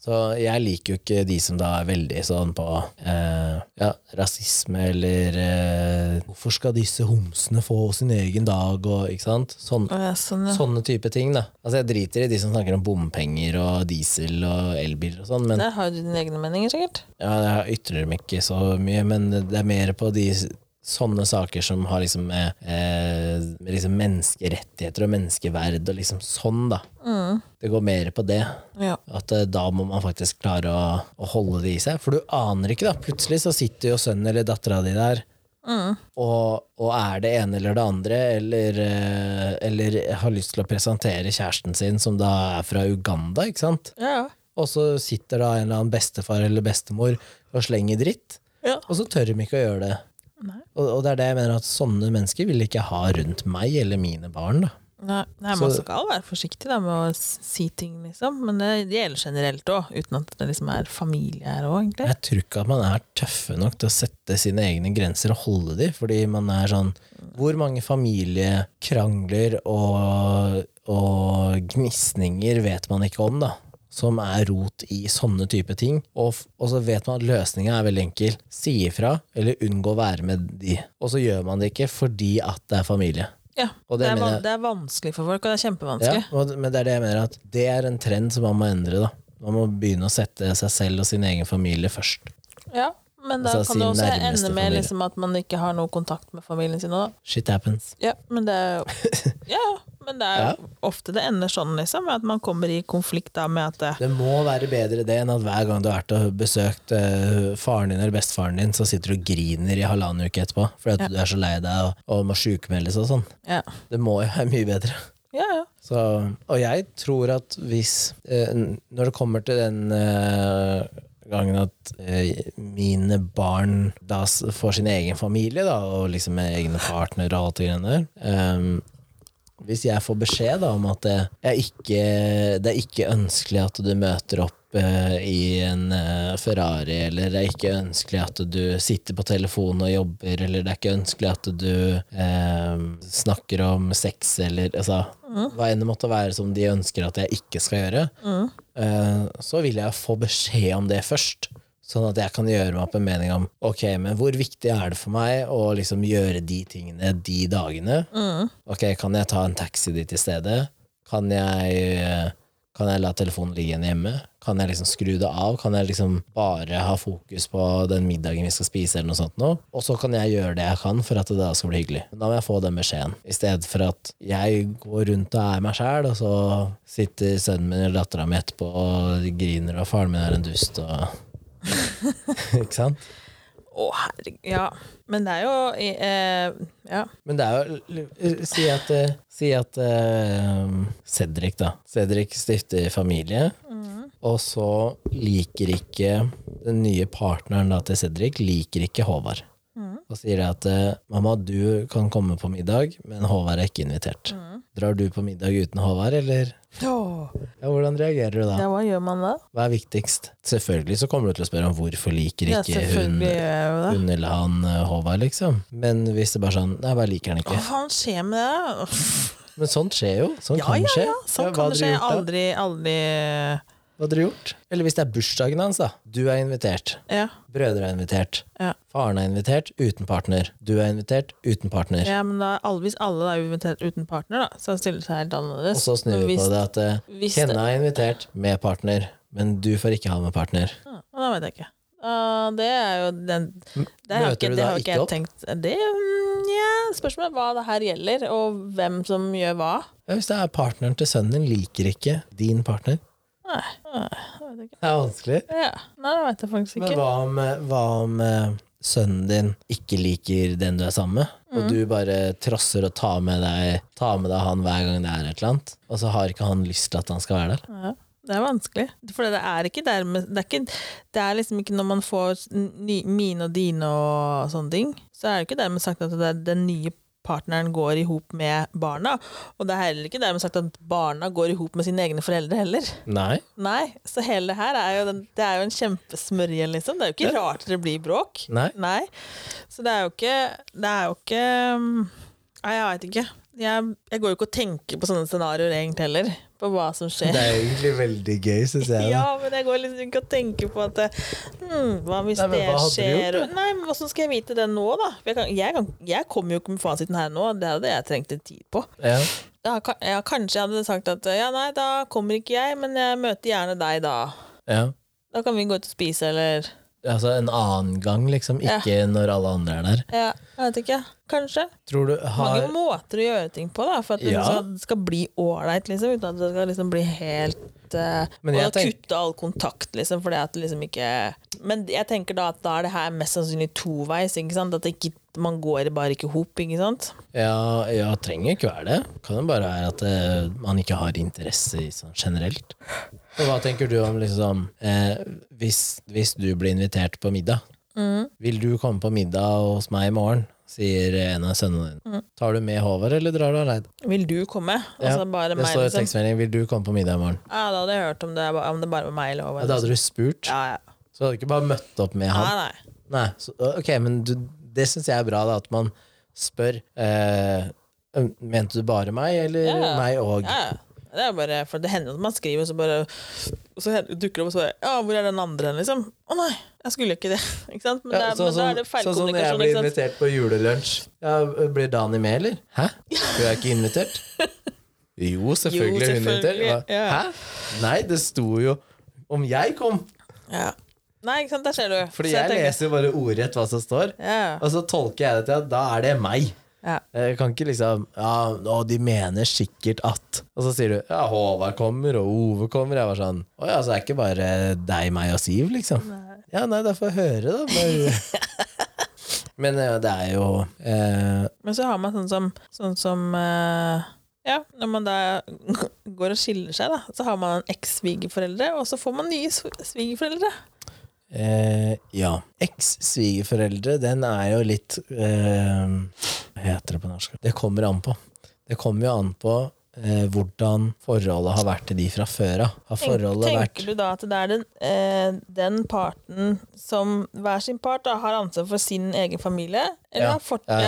A: Så jeg liker jo ikke de som da er veldig sånn på eh, ja, rasisme eller eh, Hvorfor skal disse homsene få sin egen dag, og ikke sant? Sånn,
B: Å, ja, sånn, ja.
A: sånne type ting, da. Altså, jeg driter i de som snakker om bompenger og diesel og elbiler og sånn, men
B: Der har du dine egne meninger, sikkert.
A: ja, jeg ytrer meg ikke så mye, men det er mer på de s- sånne saker som har liksom med, eh, med liksom menneskerettigheter og menneskeverd og liksom sånn, da. Det går mer på det.
B: Ja.
A: At eh, da må man faktisk klare å, å holde det i seg. For du aner ikke, da. Plutselig så sitter jo sønnen eller dattera di der. Og, og er det ene eller det andre, eller, eh, eller har lyst til å presentere kjæresten sin, som da er fra Uganda, ikke sant?
B: Ja,
A: Og så sitter da en eller annen bestefar eller bestemor og slenger dritt,
B: ja.
A: og så tør de ikke å gjøre det.
B: Nei.
A: Og, og det er det jeg mener at sånne mennesker vil ikke ha rundt meg eller mine barn. da.
B: Nei, nei
A: Så-
B: Man skal være forsiktig da, med å s- si ting, liksom. Men det, det gjelder generelt òg, uten at det liksom er familie her òg, egentlig.
A: Jeg tror ikke at man er tøffe nok til å sette sine egne grenser og holde de, fordi man er sånn Hvor mange familiekrangler og, og gnisninger vet man ikke om, da? Som er rot i sånne type ting. Og, f- og så vet man at løsninga er veldig enkel. Si ifra, eller unngå å være med de. Og så gjør man det ikke fordi at det er familie.
B: Ja,
A: Og
B: det
A: det
B: er,
A: mener
B: van-
A: jeg-
B: det er vanskelig for folk, og det er
A: Ja,
B: kjempevanskelig.
A: og, men det er det jeg mener, at det er en trend som man må endre, da. Man må begynne å sette seg selv og sin egen familie først.
B: Ja, men da
A: Altså,
B: kan det
A: sin
B: også
A: nærmeste
B: ende med
A: familie.
B: liksom, at man ikke har noe kontakt med familien sin. også, Da.
A: Shit happens.
B: Ja, men det er jo ja, men det er jo ofte det ender sånn, liksom. At man kommer i konflikt da med at eh,
A: Det må være bedre det enn at hver gang du har vært og besøkt eh, faren din eller bestefaren din, så sitter du og griner i halvannen uke etterpå fordi at du er så lei deg og, og må sjukmeldes og sånn.
B: Ja,
A: Det må jo være mye bedre.
B: ja. ja.
A: Så, og jeg tror at hvis eh, n- Når det kommer til den eh, gangen at eh, mine barn da s- får sin egen familie, da, og liksom med egne partnere og alt det greiene der ehm, Hvis jeg får beskjed da om at det er ikke, det er ikke ønskelig at du møter opp eh, i en eh, Ferrari, eller det er ikke ønskelig at du sitter på telefonen og jobber, eller det er ikke ønskelig at du ehm, snakker om sex, eller altså, hva enn det måtte være som de ønsker at jeg ikke skal gjøre, eh, så vil jeg få beskjed om det først. Sånn at jeg kan gjøre meg opp en mening om Ok, men hvor viktig er det for meg å liksom gjøre de tingene de dagene. Ok, kan jeg ta en taxi dit i stedet? Kan jeg, kan jeg la telefonen ligge igjen hjemme? Kan jeg liksom skru det av? Kan jeg liksom bare ha fokus på den middagen vi skal spise, eller noe sånt nå? Og så kan jeg gjøre det jeg kan for at det da skal bli hyggelig. Men Da må jeg få den beskjeden. I stedet for at jeg går rundt og er meg sjæl, og så sitter sønnen min eller dattera mi etterpå og griner, og faren min er en dust, og Ikke sant?
B: Å, herregud. Ja. Men det er jo eh, Ja.
A: Men det er jo l- l- Si at, eh, si at eh, Cedric, da. Cedric stifter familie,
B: Mm.
A: og så liker ikke den nye partneren da, til Cedric liker ikke Håvard.
B: Mm.
A: Og sier det at eh, 'mamma, du kan komme på middag, men Håvard er ikke invitert'.
B: Mm.
A: Drar du på middag uten Håvard, eller?
B: Åh.
A: Ja, hvordan reagerer du da?
B: ja, hva gjør man da?
A: Hva er viktigst? Selvfølgelig så kommer du til å spørre om hvorfor liker
B: Ja,
A: ikke hun,
B: selvfølgelig gjør jeg jo det.
A: hun eller han eh, Håvard, liksom. Men hvis det bare er sånn 'nei, jeg bare liker han
B: Hva
A: ikke'.
B: faen skjer med det? da?
A: Men sånt skjer jo. Sånt
B: Ja,
A: kan
B: ja,
A: skje.
B: ja. Sånn
A: hva
B: kan det
A: hadde du
B: skje. Jeg
A: gjort da?
B: Aldri, aldri
A: Hva hadde du gjort? Eller hvis det er bursdagen hans, da. Du er invitert.
B: Ja.
A: Brødre er invitert.
B: Ja.
A: Faren er invitert uten partner. Du er invitert uten partner.
B: ja, men da, alle, hvis alle er invitert uten partner, da, så stiller det seg helt annerledes.
A: Og så snur
B: Men
A: vi
B: hvis-
A: på det at eh,
B: hvis det-
A: Kenna er invitert med partner, men du får ikke ha med partner.
B: Ja, da vet jeg ikke. Ah, det er jo den det har
A: møter
B: ikke,
A: du
B: det
A: da
B: har
A: ikke
B: ikke jeg
A: opp?
B: tenkt det, mm, ja, Spørsmålet er hva det her gjelder, og hvem som gjør hva.
A: Ja, hvis det er partneren til sønnen din liker ikke din partner.
B: Nei, nei, jeg vet ikke.
A: Det er vanskelig.
B: Ja, nei, det vet jeg faktisk
A: Men
B: ikke.
A: hva om, hva om eh, sønnen din ikke liker den du er sammen med,
B: Mm.
A: og du bare trosser og tar med, deg, tar med deg han hver gang det er et eller annet, og så har ikke han lyst til at han skal være der?
B: Ja, det er vanskelig. For det er ikke dermed det er, ikke, det er liksom ikke når man får ny, mine og dine og sånne ting, så er det ikke dermed sagt at det er den nye partneren går i hop med barna. Og det er heller ikke dermed sagt at barna går i hop med sine egne foreldre heller.
A: Nei.
B: Nei, så hele det her er jo, den, det er jo en kjempesmørje, liksom. Det er jo ikke rart det blir bråk.
A: Nei.
B: Nei. Så det er jo ikke Det er jo ikke um, Nei, jeg veit ikke. Jeg, jeg går jo ikke og tenker på sånne scenarioer egentlig heller. På hva som skjer.
A: Det er egentlig veldig gøy, syns jeg.
B: Ja,
A: da.
B: men jeg går liksom ikke og tenker på at hmm, Hva hvis
A: Nei, men
B: det
A: hva hadde du
B: skjer?
A: gjort,
B: og- Nei, men Hvordan skal jeg vite det nå, da? For Jeg, kan, jeg, kan, jeg kommer jo ikke med fasiten her nå. Det hadde jeg trengt litt tid på.
A: Ja.
B: Ja, ka- ja, kanskje jeg hadde sagt at ja, nei, da kommer ikke jeg, men jeg møter gjerne deg da.
A: ja.
B: Da kan vi gå ut og spise, eller
A: Altså en annen gang, liksom. Ikke når alle andre er der.
B: Ja, jeg vet ikke. Kanskje.
A: Tror du
B: Mange
A: har
B: måter å gjøre ting på, da, for at det
A: Ja.
B: liksom skal bli ålreit, liksom, uten at det skal liksom bli helt eh,
A: Men
B: Og
A: jeg
B: da
A: tenk-
B: kutte all kontakt, liksom, fordi at det liksom ikke Men jeg tenker da at da er det her mest sannsynlig toveis, ikke sant? At det ikke, man går bare ikke hop, ikke sant?
A: Ja, ja, trenger ikke være det. Kan jo bare være at eh, man ikke har interesse i sånn generelt. Og hva tenker du om liksom eh, hvis, hvis du blir invitert på middag,
B: Mm.
A: vil du komme på middag hos meg i morgen? Sier en av sønnene dine. Tar du med Håvard, eller drar du aleine?
B: Vil du komme?
A: Ja,
B: Mm. altså bare
A: det
B: meg,
A: står i
B: liksom.
A: tekstmeldingen 'Vil du komme på middag i morgen?'
B: Ja, da hadde jeg hørt om det, om det bare var meg eller
A: Ja,
B: over.
A: da hadde du spurt.
B: Ja, ja.
A: Så hadde du ikke bare møtt opp med han.
B: Nei, nei.
A: Nei, så, ok, men du, det syns jeg er bra, da, at man spør eh, Mente du bare meg, eller
B: Ja, ja.
A: meg og?
B: Ja, ja. Det er bare, for det hender at man skriver, og så bare og så hen- dukker det opp og så bare Ja, hvor er den andre hen, liksom? Å nei, jeg skulle ikke det. Ikke sant? Men,
A: Ja,
B: det er,
A: sånn
B: men da
A: som
B: er det
A: sånn som når jeg
B: feilkommunikasjon.
A: blir
B: ikke sant?
A: invitert på julelunsj. Ja, blir Dani med, eller? Hæ? Hun er ikke invitert? Jo, selvfølgelig er hun invitert.
B: selvfølgelig,
A: Hva?
B: ja.
A: Hæ? Nei, det sto jo om jeg kom!
B: Ja. Nei, ikke sant, der ser du.
A: Fordi
B: Så
A: jeg
B: tenker-
A: leser jo bare ordrett hva som står,
B: Ja.
A: og så tolker jeg det til at da er det meg.
B: ja.
A: Jeg kan ikke liksom Ja, å, de mener sikkert at Og så sier du ja, Håvard kommer, og Ove kommer. Jeg var sånn Å ja, så er det ikke bare deg, meg og Siv, liksom? Ja, nei, da får jeg høre, da. Men, men eh, det er jo eh,
B: Men så har man sånn som, sånn som eh, Ja, når man da går og skiller seg, da, så har man en eks-svigerforeldre, og så får man nye sv- svigerforeldre.
A: Eh, ja. Eks-svigerforeldre, den er jo litt eh, Hva heter det på norsk? Det kommer an på. Det kommer jo an på eh, hvordan forholdet har vært til de fra før av. Har
B: Tenk-
A: forholdet vært
B: Tenker du da at det er den, eh, den parten som hver sin part da, har ansvar for sin egen familie? Eller
A: Ja.
B: har fort,
A: Ja.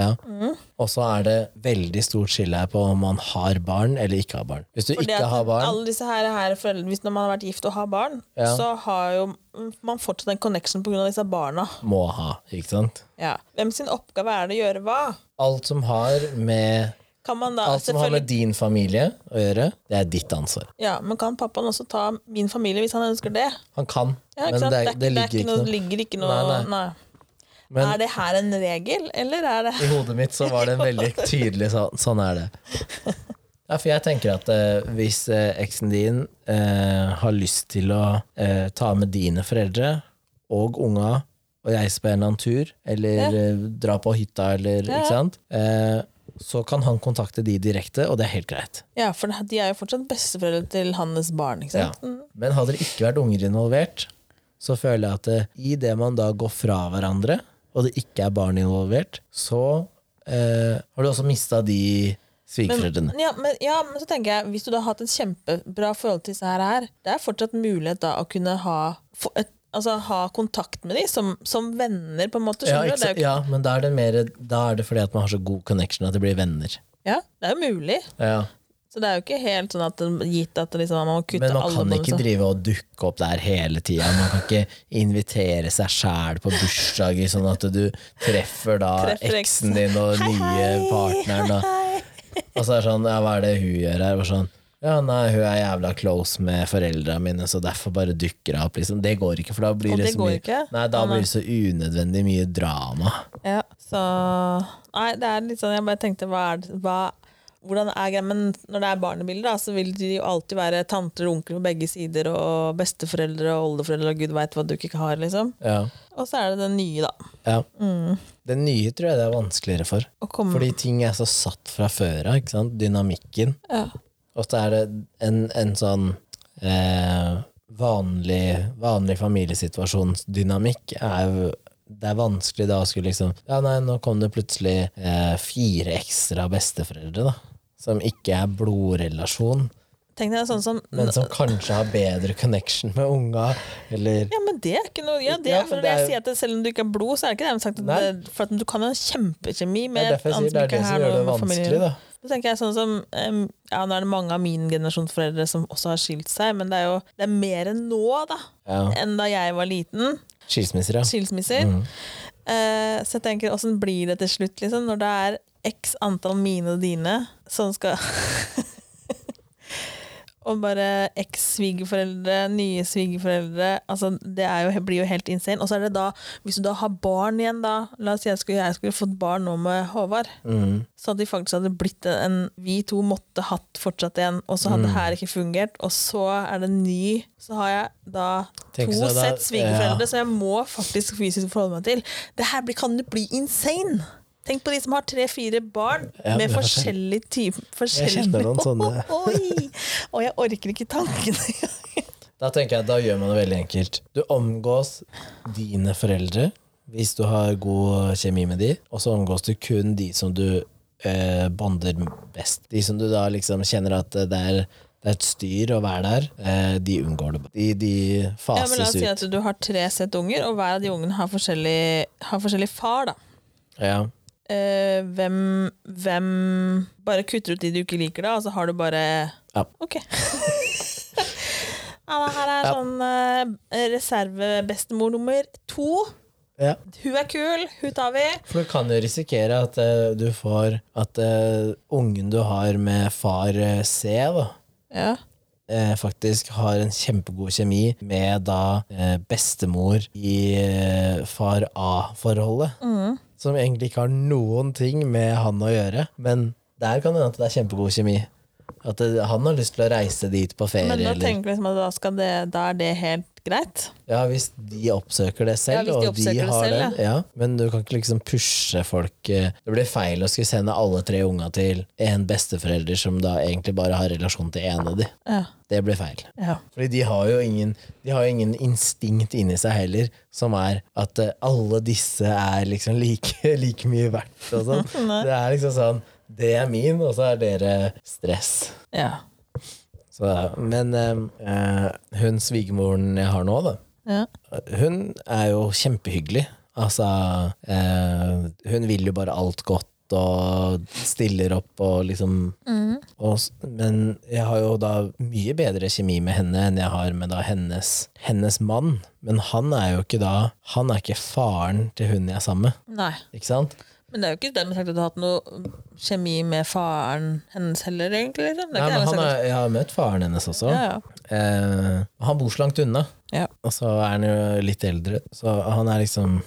B: ja. Mm.
A: ja. Og så er det veldig stort skille her på om man har barn eller ikke har barn. Hvis du
B: Fordi
A: ikke
B: at
A: har barn
B: alle disse her, her foreldre, Hvis når man har vært gift og har barn,
A: Ja.
B: så har jo man fortsatt en connection pga. disse barna.
A: må ha, ikke sant?
B: Ja. Hvem sin oppgave er det å gjøre hva?
A: Alt som har med,
B: Kan man da
A: alt som har
B: selvfølgelig-
A: med din familie å gjøre, det er ditt ansvar.
B: Ja, men kan pappaen også ta min familie hvis han ønsker det?
A: Han kan,
B: Ja,
A: men
B: ikke sant?
A: det, det ligger ikke noe
B: ligger ikke noe
A: Nei,
B: nei,
A: nei. Men-
B: Er det her en regel, eller er det
A: I hodet mitt så var det en veldig tydelig sånn, sånn er det. Ja, for jeg tenker at eh, hvis eh, eksen din eh, har lyst til å eh, ta med dine foreldre og unga og reise på en eller annen tur, eller eh, dra på hytta, eller
B: Ja.
A: ikke sant, eh, så kan han kontakte de direkte, og det er helt greit.
B: Ja, for de er jo fortsatt besteforeldre til hans barn, ikke sant?
A: Ja. Men hadde det ikke vært unger involvert, så føler jeg at det, i det man da går fra hverandre, og det ikke er barn involvert, så eh, har du også mista de
B: Men,
A: svigerforeldrene.
B: ja, men, ja, men så tenker jeg, hvis du da har hatt et kjempebra forhold til disse her, her, det er fortsatt mulighet da å kunne ha, få et, altså, ha kontakt med dem som, som venner, på en måte.
A: Ja,
B: skjønner
A: ikke,
B: du? Det er
A: sant?
B: jo ikke-
A: ja, men da er, det mer, da er det fordi at man har så god connection at det blir venner.
B: ja, det er jo mulig.
A: Ja.
B: Så det er jo ikke helt sånn at det- gitt at det liksom, man må kutte
A: Men man
B: alle sånn.
A: kan
B: bånd,
A: ikke
B: så-
A: drive og dukke opp der hele tida. Man kan ikke invitere seg sjæl på bursdager, sånn at du treffer da
B: Treffer eksen.
A: eksen din og nye partneren. Og,
B: Hei.
A: Og så er det sånn, ja, hva er det hun gjør her? Og sånn, ja, nei, hun er jævla close med foreldrene mine, så derfor bare dukker hun opp, liksom. Det går ikke, for da blir
B: Og
A: det,
B: det
A: så
B: går
A: mye
B: ikke?
A: Nei, da
B: Nei, nei.
A: blir det så unødvendig mye drama.
B: Ja, så Nei, det er litt sånn Jeg bare tenkte hva er, det- hva, Hvordan er greia Men når det er barnebilder, da, så vil de jo alltid være tanter og onkler på begge sider, og besteforeldre og oldeforeldre og gud veit hva du ikke har, liksom.
A: Ja.
B: Og så er det den nye, da.
A: ja.
B: Mm.
A: Det nye tror jeg det er vanskeligere for.
B: Å komme
A: Fordi ting er så satt fra før av, ikke sant? Dynamikken.
B: ja.
A: Og så er det en, en sånn eh, vanlig, vanlig familiesituasjonsdynamikk er jo det er vanskelig da å skulle liksom Ja, nei, nå kom det plutselig eh, fire ekstra besteforeldre, da. Som ikke er blodrelasjon,
B: Tenk deg sånn som
A: men som kanskje har bedre connection med unga, eller
B: ja, men det er ikke noe ja, det,
A: Ja,
B: er-
A: men
B: for Når
A: det er
B: jeg
A: jo-
B: sier at det, selv om du ikke har blod, så er det ikke det. Jeg har sagt at
A: Nei.
B: det for at du kan ha en kjempekjemi
A: Det
B: med
A: er derfor jeg
B: andre
A: sier det er
B: ikke
A: det som
B: har
A: gjør det
B: noe med familien.
A: vanskelig, da.
B: Så tenker jeg sånn som em, Ja, nå er det mange av min generasjons foreldre som også har skilt seg, men det er jo det er mer enn nå, da,
A: Ja.
B: enn da jeg var liten.
A: Skilsmisser, ja. Mm.
B: Skilsmisser. Eh, så jeg tenker, åssen blir det til slutt, liksom, når det er x antall mine og dine som skal Og bare eks-svigerforeldre, nye svigerforeldre altså Det er jo, blir jo helt insane. Og så er det da, hvis du da har barn igjen, da La oss si jeg skulle, jeg skulle fått barn nå med Håvard
A: Mm.
B: så hadde de faktisk hadde blitt en, en Vi to måtte hatt fortsatt en, og så
A: Mm.
B: hadde her ikke fungert. Og så er det en ny Så har jeg da
A: Tenk
B: to
A: så da-
B: sett svigerforeldre
A: ja.
B: som jeg må faktisk fysisk forholde meg til. Det her blir, kan jo bli insane! Tenk på de som har tre-fire barn
A: Ja,
B: med
A: det er forskjell-
B: forskjellige typer forskjellige-
A: kjenner noen sånne.
B: Oi! Og jeg orker ikke tankene.
A: Da tenker jeg at da gjør man det veldig enkelt. Du omgås dine foreldre hvis du har god kjemi med de, og så omgås du kun de som du eh, bonder best. De som du da liksom kjenner at det er, det er et styr å være der, eh, de unngår det. De, de
B: Ja, men la oss
A: fases
B: si
A: ut.
B: at du har tre sett unger, og hver av de ungene har forskjellig, har forskjellig far, da.
A: Ja.
B: eh, hvem, hvem Bare kutter ut de du ikke liker, da, og så har du bare
A: Ja.
B: Ok. ja, men her er
A: Ja.
B: sånn eh, reservebestemor nummer to.
A: Ja.
B: Hun er kul, hun tar vi.
A: For du kan jo risikere at eh, du får At eh, ungen du har med far eh, C, da,
B: Ja.
A: eh, faktisk har en kjempegod kjemi med da eh, bestemor i eh, far A-forholdet.
B: Mm.
A: Som egentlig ikke har noen ting med han å gjøre, men der kan det hende at det er kjempegod kjemi. At det, han har lyst til å reise dit på ferie.
B: Men da
A: eller-
B: tenker du liksom at da, skal det, da er det helt greit?
A: Ja, hvis de oppsøker det
B: Ja,
A: selv,
B: hvis de
A: og de
B: oppsøker det
A: har
B: selv,
A: den. Ja. Men du kan ikke liksom pushe folk eh, Det blir feil å skulle sende alle tre unga til en besteforelder som da egentlig bare har relasjon til en av de.
B: Ja.
A: Det blir feil.
B: ja.
A: Fordi de har jo ingen, de har jo ingen instinkt inni seg heller, som er at eh, alle disse er liksom like, like mye verdt og sånn. det er liksom sånn Det er min, og så er dere stress.
B: ja.
A: Så, men eh, eh, hun svigermoren jeg har nå, da
B: ja.
A: hun er jo kjempehyggelig. Altså, eh, hun vil jo bare alt godt og stiller opp og liksom
B: Mm.
A: og, s- Men jeg har jo da mye bedre kjemi med henne enn jeg har med da hennes, hennes mann. Men han er jo ikke da Han er ikke faren til hun jeg er sammen med,
B: Nei.
A: ikke sant?
B: Men det er jo ikke dermed sagt at du har hatt noe kjemi med faren hennes heller, egentlig. Liksom. Det
A: Nei,
B: er
A: men
B: ikke
A: han
B: dermed sagt.
A: er, jeg har møtt faren hennes også.
B: Ja, ja.
A: Eh, han bor så langt unna,
B: Ja.
A: og så er han jo litt eldre. Så han er liksom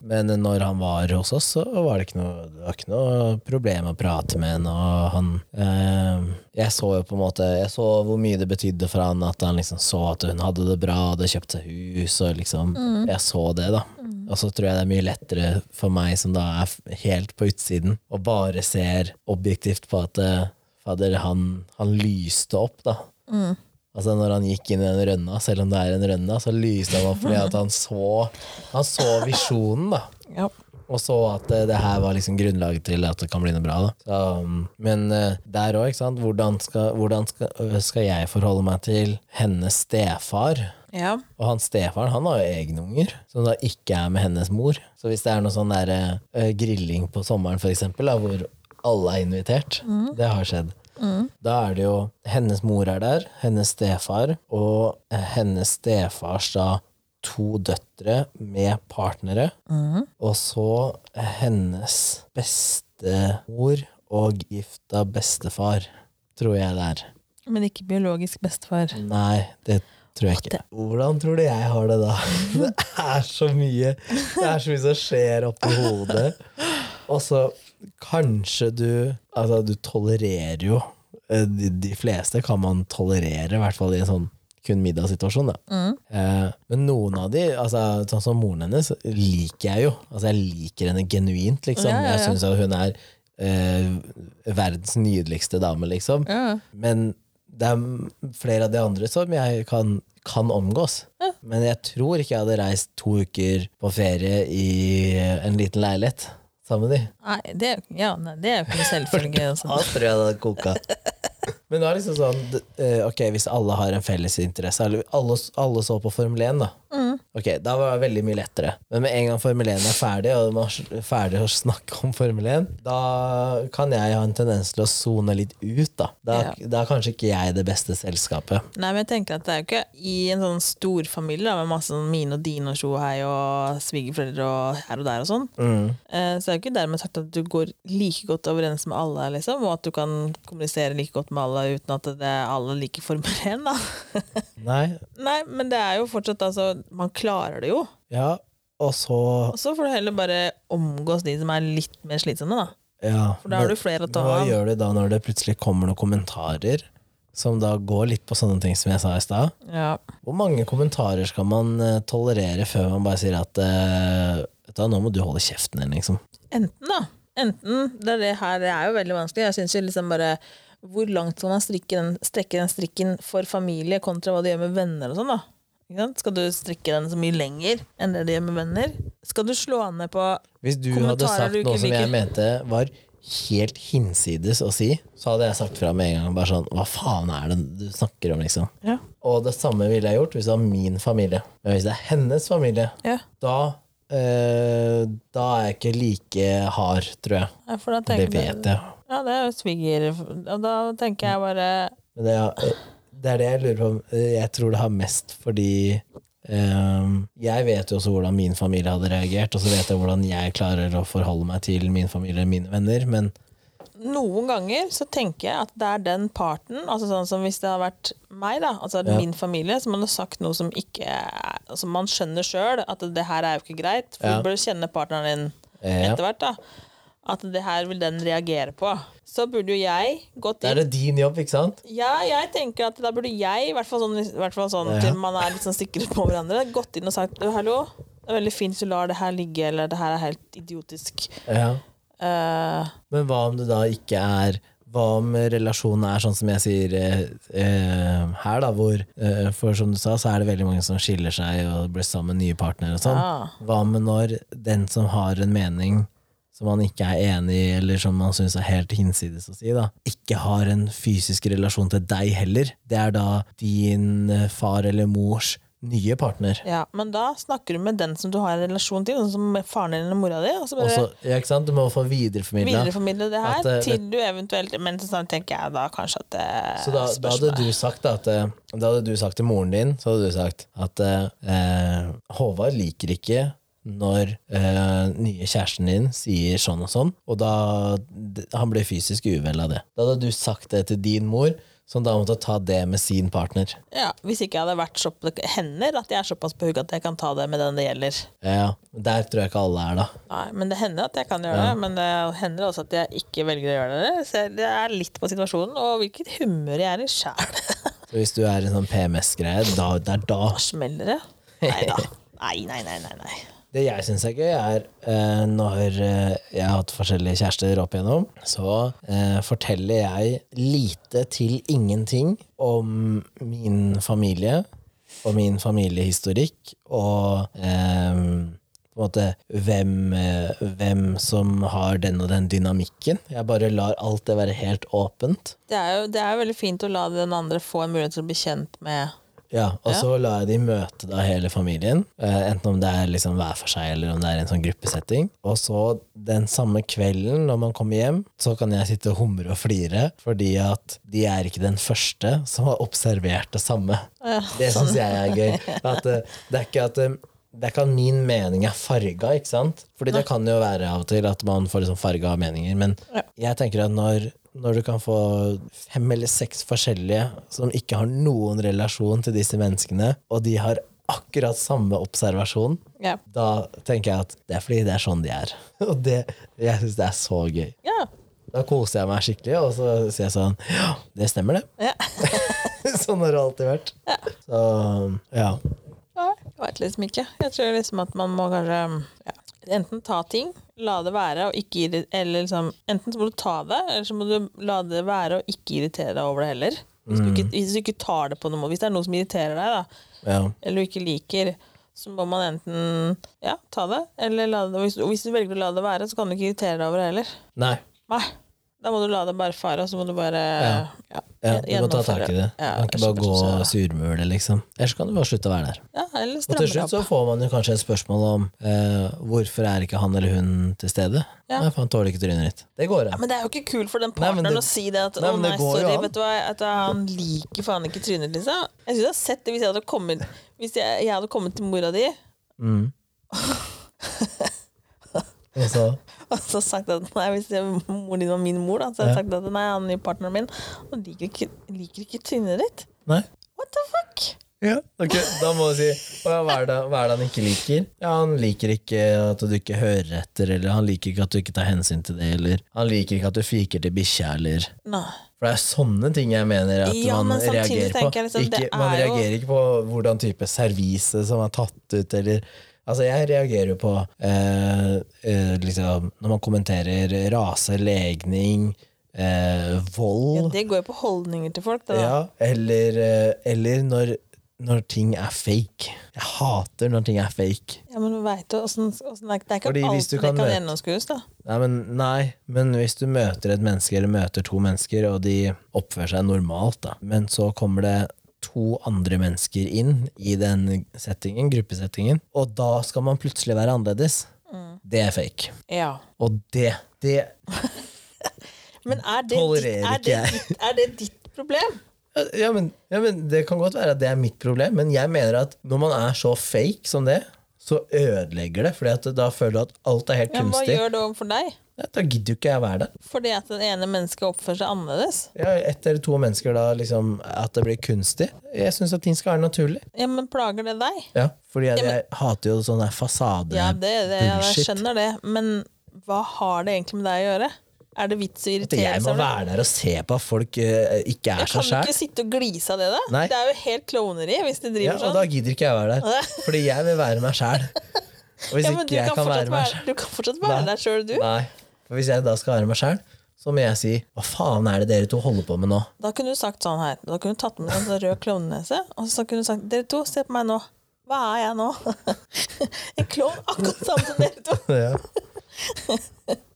A: Men når han var hos oss, så var det ikke noe, det var ikke noe problem å prate med henne. Og han eh, Jeg så jo på en måte Jeg så hvor mye det betydde for han at han liksom så at hun hadde det bra, hadde kjøpt seg hus, og liksom Jeg så det, da. Og så tror jeg det er mye lettere for meg, som da er f- helt på utsiden, og bare ser objektivt på at eh, Fader, han, han lyste opp, da. Altså Når han gikk inn i den rønna, selv om det er en rønna, så lyste han opp fordi at han så Han så visjonen, da.
B: Ja.
A: Og så at det, det her var liksom grunnlaget til at det kan bli noe bra. da så, um, Men eh, der òg, ikke sant. Hvordan, skal, hvordan skal, øh, skal jeg forholde meg til hennes stefar?
B: Ja.
A: Og han stefaren han har jo egne unger, som da ikke er med hennes mor. Så hvis det er noe sånn der, eh, grilling på sommeren, for eksempel, da, hvor alle er invitert, det har skjedd, da er det jo hennes mor er der, hennes stefar, og eh, hennes stefars da to døtre med partnere, og så hennes bestemor og gifta bestefar, tror jeg det er.
B: Men ikke biologisk bestefar.
A: Nei, det tror jeg ikke. Hvordan tror du jeg har det da? Det er så mye Det er så mye som skjer oppi hodet. Og så kanskje du Altså, du tolererer jo eh, De, de fleste kan man tolerere, i hvert fall i en sånn kun middagssituasjon. Da.
B: Mm.
A: Eh, men noen av de, altså, sånn som moren hennes, liker jeg jo. Altså, jeg liker henne genuint, liksom.
B: Ja, ja, ja.
A: Jeg syns at hun er eh, verdens nydeligste dame, liksom.
B: Ja.
A: Men det er flere av de andre som jeg kan, kan omgås. Men jeg tror ikke jeg hadde reist to uker på ferie i en liten leilighet sammen med de.
B: Nei, det er, jo- ja, nei, det er jo ikke noe selvfølge.
A: Da
B: Altså.
A: tror jeg det hadde koka. Men det er liksom sånn d- eh, Ok, hvis alle har en felles interesse eller Alle, alle så på Formel 1, da.
B: Mm.
A: Ok, Da var det veldig mye lettere. Men med en gang Formel 1 er ferdig, og man er ferdig å snakke om Formel 1, da kan jeg ha en tendens til å sone litt ut, da. Da, da er kanskje ikke jeg det beste selskapet.
B: Nei, men jeg tenker at det er jo ikke i en sånn stor familie da, med masse sånn mine og dine og tjohei og svigerforeldre og her og der og sånn,
A: Mm.
B: eh, så er det jo ikke dermed sagt at du går like godt overens med alle, liksom, og at du kan kommunisere like godt med alle uten at det er alle like Formel 1, da.
A: Nei,
B: Nei, men det er jo fortsatt, altså, man klarer det jo.
A: ja, og så
B: Og så får du heller bare omgås de som er litt mer slitsomme, da.
A: ja.
B: For da har du flere å ta
A: Hva
B: av.
A: gjør du da når det plutselig kommer noen kommentarer som da går litt på sånne ting som jeg sa i stad?
B: Ja.
A: Hvor mange kommentarer skal man eh, tolerere før man bare sier at eh, vet du, hva, nå må du holde kjeften din, liksom?
B: Enten, da. Enten. Det er, det her, det er jo veldig vanskelig. Jeg synes jo liksom bare Hvor langt skal man strikke den, strekke den strikken for familie kontra hva du gjør med venner og sånn, da? Ikke sant? Skal du strikke den så mye lenger enn det du gjør med venner? Skal du slå ned på
A: Hvis du hadde
B: Kommentarer
A: sagt
B: du ikke
A: noe som jeg
B: liker.
A: mente var helt hinsides å si, så hadde jeg sagt fra med en gang bare sånn Hva faen er det du snakker om, liksom?
B: Ja.
A: Og det samme ville jeg gjort hvis det var min familie. Men hvis det er hennes familie,
B: Ja.
A: da eh, da er jeg ikke like hard, tror jeg.
B: Ja, for da
A: Det
B: tenker
A: vet jeg.
B: Ja, det er jo sviger. Og da tenker jeg bare
A: Men det, er- det er det jeg lurer på. Jeg tror det har mest fordi ehm, Jeg vet jo også hvordan min familie hadde reagert, og så vet jeg hvordan jeg klarer å forholde meg til min familie og mine venner, men
B: Noen ganger så tenker jeg at det er den parten, altså sånn som hvis det hadde vært meg, da, altså
A: Ja.
B: min familie, som hadde sagt noe som ikke er- Som man skjønner sjøl, at det her er jo ikke greit, for
A: Ja.
B: du bør kjenne partneren din
A: eh, ja.
B: etter hvert, da. At det her vil den reagere på. Så burde jo jeg gått
A: Da
B: inn
A: er det din jobb, ikke sant?
B: Ja, jeg tenker at da burde jeg, i hvert fall sånn, i hvert fall sånn
A: Ja.
B: til man er litt sånn sikre på hverandre, gått inn og sagt «Å, 'hallo, det er veldig fint hvis du lar det her ligge', eller 'det her er helt idiotisk'.
A: Ja.
B: Eh,
A: Men hva om det da ikke er Hva om relasjonen er sånn som jeg sier eh, eh, her, da, hvor eh, For som du sa, så er det veldig mange som skiller seg og blir sammen med nye partnere og sånn.
B: Ja.
A: Hva med når den som har en mening som man ikke er enig i, eller som man syns er helt hinsides å si, da, ikke har en fysisk relasjon til deg heller? Det er da din eh, far eller mors nye partner.
B: ja, men da snakker du med den som du har en relasjon til, sånn som med faren din eller mora di, og så bare
A: Også, ja, ikke sant? Du må få videreformidla.
B: videreformidle det her
A: At, eh,
B: til du eventuelt Men sånn tenker jeg da kanskje at det
A: Så da, da hadde
B: spørsmålet-
A: du sagt da at eh, Da hadde du sagt til moren din Så hadde du sagt at eh, Håvard liker ikke når eh, nye kjæresten din sier sånn og sånn, og da d- han blir fysisk uvel av det. Da hadde du sagt det til din mor, som da måtte ta det med sin partner.
B: ja, Hvis ikke jeg hadde vært så Det hender at jeg er såpass på hugg at jeg kan ta det med den det gjelder.
A: Ja, der tror jeg ikke alle er da.
B: Nei, men det hender at jeg kan gjøre det. Men det hender også at jeg ikke velger å gjøre det. Så jeg- det er litt på situasjonen og hvilket humør jeg er i sjæl.
A: Så hvis du er i en sånn PMS-greie, da, det er da.
B: Smeller det? Nei da. Nei, nei, nei, nei. nei.
A: Det jeg syns er gøy, er eh, når eh, jeg har hatt forskjellige kjærester opp igjennom, så eh, forteller jeg lite til ingenting om min familie og min familiehistorikk og eh, på en måte hvem, eh, hvem som har den og den dynamikken. Jeg bare lar alt det være helt åpent.
B: Det er jo det er jo veldig fint å la den andre få en mulighet til å bli kjent med
A: Ja, og så lar jeg de møte da hele familien, eh, enten om det er liksom hver for seg eller om det er en sånn gruppesetting. Og så den samme kvelden når man kommer hjem, så kan jeg sitte og humre og flire, fordi at de er ikke den første som har observert det samme. Det syns jeg er gøy. At, eh, det er ikke at eh, det er ikke at min mening er farga, ikke sant? Fordi det kan jo være av og til at man får liksom farga meninger, men jeg tenker at når, når du kan få fem eller seks forskjellige som ikke har noen relasjon til disse menneskene, og de har akkurat samme observasjon,
B: Ja.
A: da tenker jeg at det er fordi det er sånn de er. Og det, jeg syns det er så gøy.
B: ja.
A: Da koser jeg meg skikkelig, og så sier jeg sånn Ja, det stemmer, det.
B: ja.
A: sånn har det alltid vært. Så ja.
B: Nei, jeg vet liksom ikke. Jeg tror liksom at man må kanskje ja, enten ta ting, la det være og ikke irri- eller liksom, Enten så må du ta det, eller så må du la det være og ikke irritere deg over det heller. Hvis du ikke, hvis du ikke tar det på noe måte, hvis det er noe som irriterer deg, da,
A: ja.
B: eller du ikke liker, så må man enten ja, ta det, eller la det og hvis, og hvis du velger å la det være, så kan du ikke irritere deg over det heller.
A: Nei.
B: Nei. Da må du la det bare fare, og så må du bare ja,
A: Ja, du må ta
B: gjennomføre
A: tak i det. Du
B: Ja,
A: kan ikke
B: ellers
A: bare gå
B: så-
A: og surmule, liksom. Ellers kan du bare slutte å være der.
B: Ja, eller
A: Og til
B: stramme det
A: slutt
B: opp.
A: så får man jo kanskje et spørsmål om eh, hvorfor er ikke han eller hun til stede?
B: Ja.
A: Nei, for han tåler ikke trynet ditt. Det går an.
B: Men det er jo ikke kult for den
A: Nei, men
B: partneren
A: det-
B: å si det. At,
A: Nei,
B: å
A: men det
B: nei,
A: går jo
B: sorry,
A: an.»
B: vet du hva, at han liker faen ikke trynet ditt. liksom. Jeg synes jeg har sett det hvis jeg hadde kommet Hvis jeg, jeg hadde kommet til mora di
A: Mm. Og så
B: og så sagt at nei, hvis jeg, moren din var min mor, da, så hadde jeg sagt at nei, han er partneren min. Han liker ikke, liker ikke trynet ditt.
A: Nei.
B: What the fuck?
A: Ja, ok. Da må du si «Å ja, hva er, det, hva er det han ikke liker? Ja, Han liker ikke at du ikke hører etter, eller han liker ikke at du ikke tar hensyn til det, eller han liker ikke at du fiker til bikkja, eller
B: Nei.
A: For det er sånne ting jeg mener at
B: Ja,
A: man
B: men samtidig
A: reagerer på.
B: tenker jeg liksom, det
A: ikke, man
B: er jo-
A: reagerer ikke på hvordan type servise som er tatt ut, eller Altså, jeg reagerer jo på eh, eh, liksom, når man kommenterer rase, legning, eh,
B: Ja,
A: vold
B: det går jo på holdninger til folk. Det, da.
A: ja, eller, eh, eller når, når ting er fake. Jeg hater når ting er fake.
B: Ja, men du vet jo, åssen- åssen er- det er ikke
A: Fordi hvis
B: alt
A: du
B: det
A: kan
B: kan
A: møte-
B: gjennomskues. da.
A: Nei men, nei, men hvis du møter et menneske eller møter to mennesker, og de oppfører seg normalt, da, men så kommer det to andre mennesker inn i den settingen, gruppesettingen, og da skal man plutselig være annerledes,
B: Mm.
A: det er fake.
B: Ja.
A: Og det, det
B: Men er det, ditt,
A: Tolererer
B: er,
A: ikke
B: det
A: jeg.
B: ditt, er det ditt problem?
A: ja men, ja, men det kan godt være at det er mitt problem, men jeg mener at når man er så fake som det, så ødelegger det, fordi at da føler du at alt er helt
B: Ja, hva
A: kunstig.
B: gjør det overfor deg?
A: Ja, Da gidder jo ikke jeg være der.
B: Fordi at den ene mennesket oppfører seg annerledes?
A: Ja, ett eller to mennesker da, liksom, at det blir kunstig. Jeg syns at ting skal være naturlig.
B: Ja, men plager det deg?
A: Ja, fordi jeg,
B: Ja, men-
A: jeg hater jo sånn der fasade.
B: Ja, det, det, jeg
A: bullshit.
B: skjønner det, men hva har det egentlig med deg å gjøre? Er det vits
A: At
B: i å irritere
A: jeg
B: seg
A: må
B: over det?
A: være der og se på at folk eh, ikke er
B: Jeg
A: seg
B: kan
A: sjæl.
B: ikke sitte og glise av det, da.
A: Nei.
B: Det er jo helt klovneri hvis de
A: Ja,
B: driver
A: og da
B: sånn.
A: gidder ikke jeg være der. Fordi jeg vil være meg sjæl. Og hvis
B: Ja, men
A: ikke
B: du,
A: jeg
B: kan
A: kan
B: fortsatt
A: være meg
B: være,
A: sjæl
B: du kan fortsatt være
A: Nei.
B: der sjøl, du.
A: Nei. For hvis jeg da skal være meg sjæl, så må jeg si hva faen er det dere to holder på med nå?
B: Da kunne du sagt sånn her. Da kunne du tatt med deg en sånn rød klovnenese, og så kunne du sagt Dere to, se på meg nå. Hva er jeg nå? en klovn akkurat samme som dere to.
A: Ja.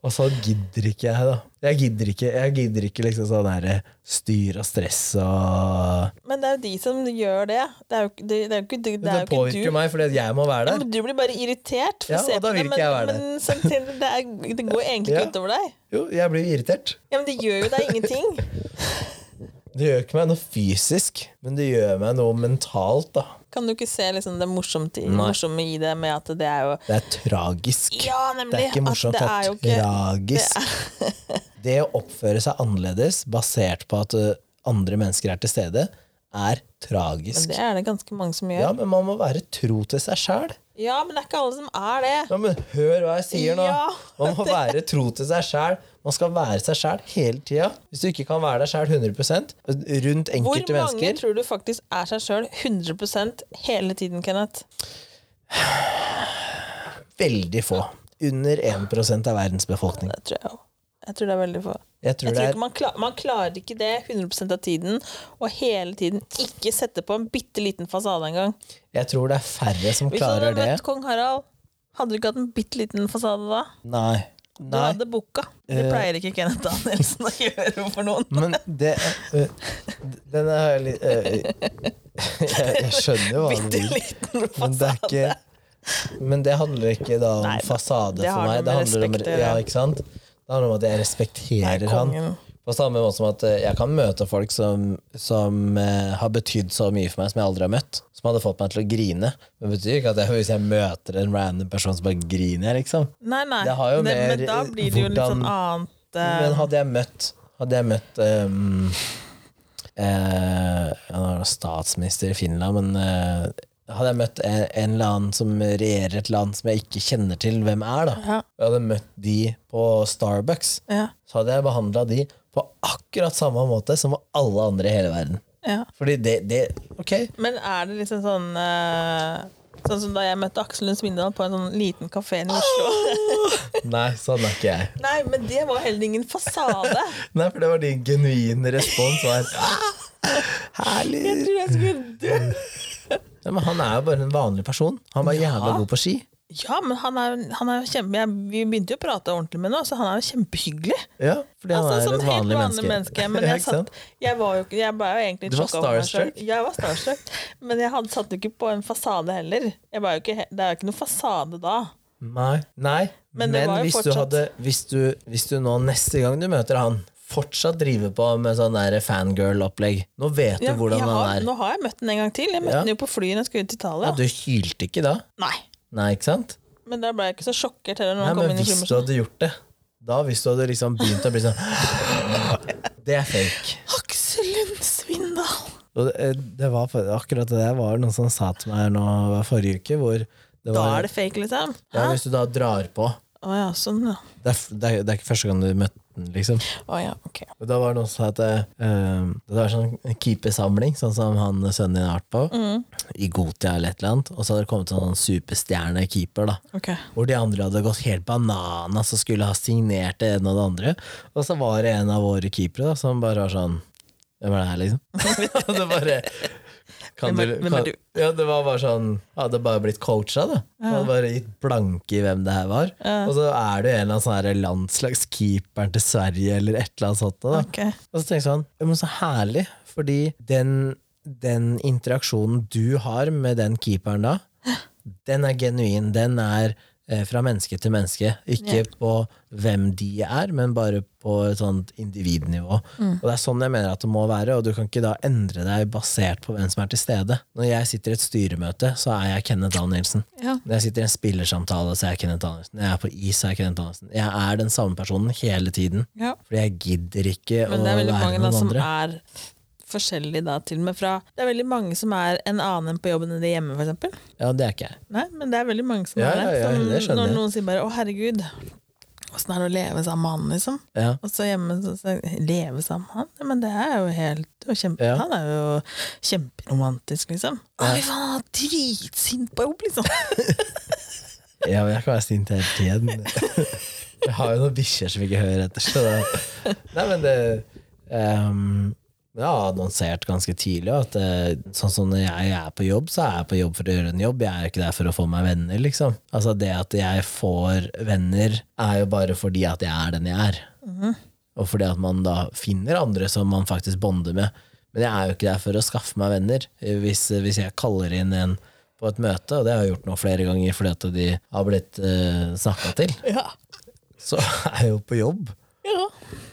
A: Og så gidder ikke jeg, da. Jeg gidder ikke, jeg gidder ikke liksom sånn der styr og stress og
B: Men det er jo de som gjør det. Det er jo, ikke- det, det er jo ikke, det,
A: Det,
B: det er jo ikke
A: påvirker
B: du.
A: meg, fordi at jeg må være
B: Ja,
A: der.
B: men du blir bare irritert. For
A: Ja,
B: å se
A: og da
B: på
A: vil
B: det,
A: ikke jeg være
B: men, men samtidig, det, er, det går egentlig ikke
A: Ja.
B: utover deg.
A: Jo, jeg blir irritert.
B: Ja, Men det gjør jo deg ingenting.
A: Det gjør ikke meg noe fysisk, men det gjør meg noe mentalt, da.
B: Kan du ikke se liksom, det morsomt i-
A: Nei.
B: morsomme i det med at det er jo
A: Det er tragisk.
B: Ja, nemlig!
A: Det er ikke
B: at
A: morsomt, det er,
B: jo ikke-
A: tragisk. Det, å oppføre seg annerledes basert på at ø, andre mennesker er til stede, er
B: Men
A: tragisk.
B: det er det ganske mange som gjør.
A: Ja,
B: Ja,
A: men man må være tro til seg sjæl.
B: men det er ikke alle som er det.
A: Ja, men hør hva jeg sier nå!
B: Ja,
A: Man må være tro til seg sjæl. Man skal være seg sjæl hele tida. Hvis du ikke kan være deg sjæl 100 rundt
B: Hvor mange
A: enkelte mennesker
B: tror du faktisk er seg sjøl 100 hele tiden, Kenneth?
A: Veldig få. Under 1 av verdens befolkning.
B: Det tror jeg òg. Jeg tror det er veldig få.
A: Jeg tror
B: Jeg
A: det
B: tror
A: er
B: ikke man, klar, man klarer ikke det 100 av tiden, og hele tiden ikke sette på en bitte liten fasade engang.
A: Jeg tror det er færre som
B: Hvis du hadde
A: klarer det.
B: møtt kong Harald, hadde du ikke hatt en bitte liten fasade da?
A: Nei.
B: Du
A: Nei.
B: hadde booka. Det
A: Eh.
B: pleier ikke Kenneth Danielsen å gjøre for noen.
A: Men det øh, Den er litt øh, jeg, jeg skjønner jo hva du
B: Bitte
A: vil,
B: liten
A: men det er
B: fasade.
A: ikke Men det handler ikke da om
B: Nei,
A: fasade
B: det har
A: for meg.
B: noe
A: Det
B: med
A: handler om,
B: respekt å gjøre.
A: ja, ikke sant? Det handler om at jeg respekterer han.
B: kongen.
A: På samme måte som at eh, jeg kan møte folk som, som eh, har betydd så mye for meg, som jeg aldri har møtt. Som hadde fått meg til å grine. Men det betyr ikke at jeg, hvis jeg møter en random person, så bare griner jeg, liksom.
B: Nei, nei.
A: Det har jo
B: Det-
A: mer
B: men da blir det jo litt
A: hvordan-
B: sånn annet eh,
A: Men hadde jeg møtt Hadde jeg møtt ehm, eh, Han var statsminister i Finland, men eh, hadde jeg møtt en, en eller annen som regjerer et land som jeg ikke kjenner til hvem er, da
B: Ja.
A: og jeg hadde møtt de på Starbucks,
B: ja,
A: så hadde jeg behandla de på akkurat samme måte som alle andre i hele verden.
B: ja.
A: Fordi det, det Ok,
B: Men er det liksom sånn eh, Sånn som da jeg møtte Aksel Lund Svindal på en sånn liten kafé i Oslo.
A: nei, sånn er ikke jeg.
B: Nei, men det var heller ingen fasade.
A: Nei, for det var din genuine respons. Var, Herlig!
B: Jeg tror jeg skulle dø.
A: Ja, men han er jo bare en vanlig person. Han var jævla god på ski.
B: Ja, men han er, han er jo kjempe... Jeg, vi begynte jo å prate ordentlig med ham, så han er jo kjempehyggelig.
A: Ja, fordi han
B: Altså,
A: er
B: som
A: et
B: helt
A: vanlig menneske.
B: Men jeg,
A: Ikke sant?
B: satt, jeg var jo ikke Jeg var jo egentlig
A: Du var
B: sjokka over meg selv.
A: starstruck?
B: Ja, jeg var starstruck. Men jeg hadde satt jo ikke på en fasade heller. Jeg var jo ikke, he- det er jo ikke noe fasade da.
A: Nei, Nei.
B: Men
A: men,
B: det var jo
A: hvis,
B: fortsatt-
A: du hadde, hvis, du, hvis du nå neste gang du møter han, fortsatt driver på med sånn der fangirl-opplegg Nå vet du
B: Ja,
A: hvordan
B: jeg har,
A: han er.
B: Nå har jeg møtt den en gang til. Jeg møtte
A: Ja.
B: den jo på flyet når jeg skulle ut til
A: Ja,
B: Italia.
A: du hylte ikke da?
B: Nei.
A: Nei, ikke sant?
B: Men da ble jeg ikke så sjokkert heller. Når
A: Nei,
B: han kom
A: men
B: inn i
A: hvis du
B: flymaskinen.
A: hadde gjort det da hvis du hadde liksom begynt å bli sånn Det er fake.
B: Aksel Lund Svindal!
A: Og det, eh, det var for- akkurat det der var noen som sa til meg nå det var forrige uke, hvor det
B: Da
A: var,
B: er det fake, liksom? Hæ?
A: ja, Hvis du da drar på
B: Å ja, sånn, ja.
A: Det er, f- det er, det er ikke første gang du møtte den, liksom.
B: Å ja, ok.
A: Og Da var det noen som sa at eh, det var sånn keepersamling, sånn som han eh, sønnen din har vært på, i Gotia eller et eller annet, og så hadde det kommet en sånn superstjernekeeper, da.
B: Ok.
A: Hvor de andre hadde gått helt bananas og skulle ha signert det ene og det andre. Og så var det en av våre keepere da, som bare var sånn Hvem er det her, liksom? og det bare kan
B: Hvem er- hvem er
A: kan-
B: du?
A: Ja, det var bare sånn Hadde bare blitt coacha, da. Hadde bare gitt blanke i hvem det her var. Og så er du en eller annen sånn her landslagskeeperen til Sverige eller et eller annet sånt. Da.
B: ok.
A: Og så tenkte jeg sånn, ja, men så herlig, fordi den den interaksjonen du har med den keeperen da, den er genuin. Den er eh, fra menneske til menneske. Ikke
B: Ja.
A: på hvem de er, men bare på et sånt individnivå. Og det er sånn jeg mener at det må være, og du kan ikke da endre deg basert på hvem som er til stede. Når jeg sitter i et styremøte, så er jeg Kenneth Danielsen.
B: Ja.
A: Når jeg sitter i en spillersamtale, så er jeg Kenneth Danielsen. Når jeg er på is, så er jeg Kenneth Danielsen. Jeg er den samme personen hele tiden.
B: ja.
A: Fordi jeg gidder ikke å
B: Men det er
A: være
B: veldig mange da
A: noen
B: som
A: andre.
B: er forskjellige da, til og med fra Det er veldig mange som er en annen enn på jobben enn de er hjemme, for eksempel.
A: Ja, det er ikke jeg.
B: Nei, men det er veldig mange som
A: Ja,
B: er
A: ja,
B: det.
A: ja,
B: som,
A: det skjønner
B: når
A: jeg.
B: noen sier bare 'Å, herregud, åssen er det å leve sammen med han', liksom.
A: Ja.
B: Og så hjemme så sier jeg 'leve sammen med han'? Ja, Men det er jo helt det er jo kjempe,
A: Ja.
B: Han er jo kjemperomantisk, liksom. Å, fy faen, han er dritsint på jobb, liksom!
A: Ja, men jeg kan være sint hele tiden. Jeg har jo noen bikkjer som ikke hører etter. Så da. Nei, men det ehm, Jeg har annonsert ganske tidlig at eh, sånn som når jeg er på jobb, så er jeg på jobb for å gjøre en jobb. Jeg er jo ikke der for å få meg venner, liksom. Altså Det at jeg får venner, er jo bare fordi at jeg er den jeg er. Og fordi at man da finner andre som man faktisk bonder med. Men jeg er jo ikke der for å skaffe meg venner. eh, Hvis, hvis jeg kaller inn en på et møte, og det har jeg gjort nå flere ganger fordi at de har blitt uh, snakka til,
B: Ja.
A: så er jeg jo på jobb.
B: ja.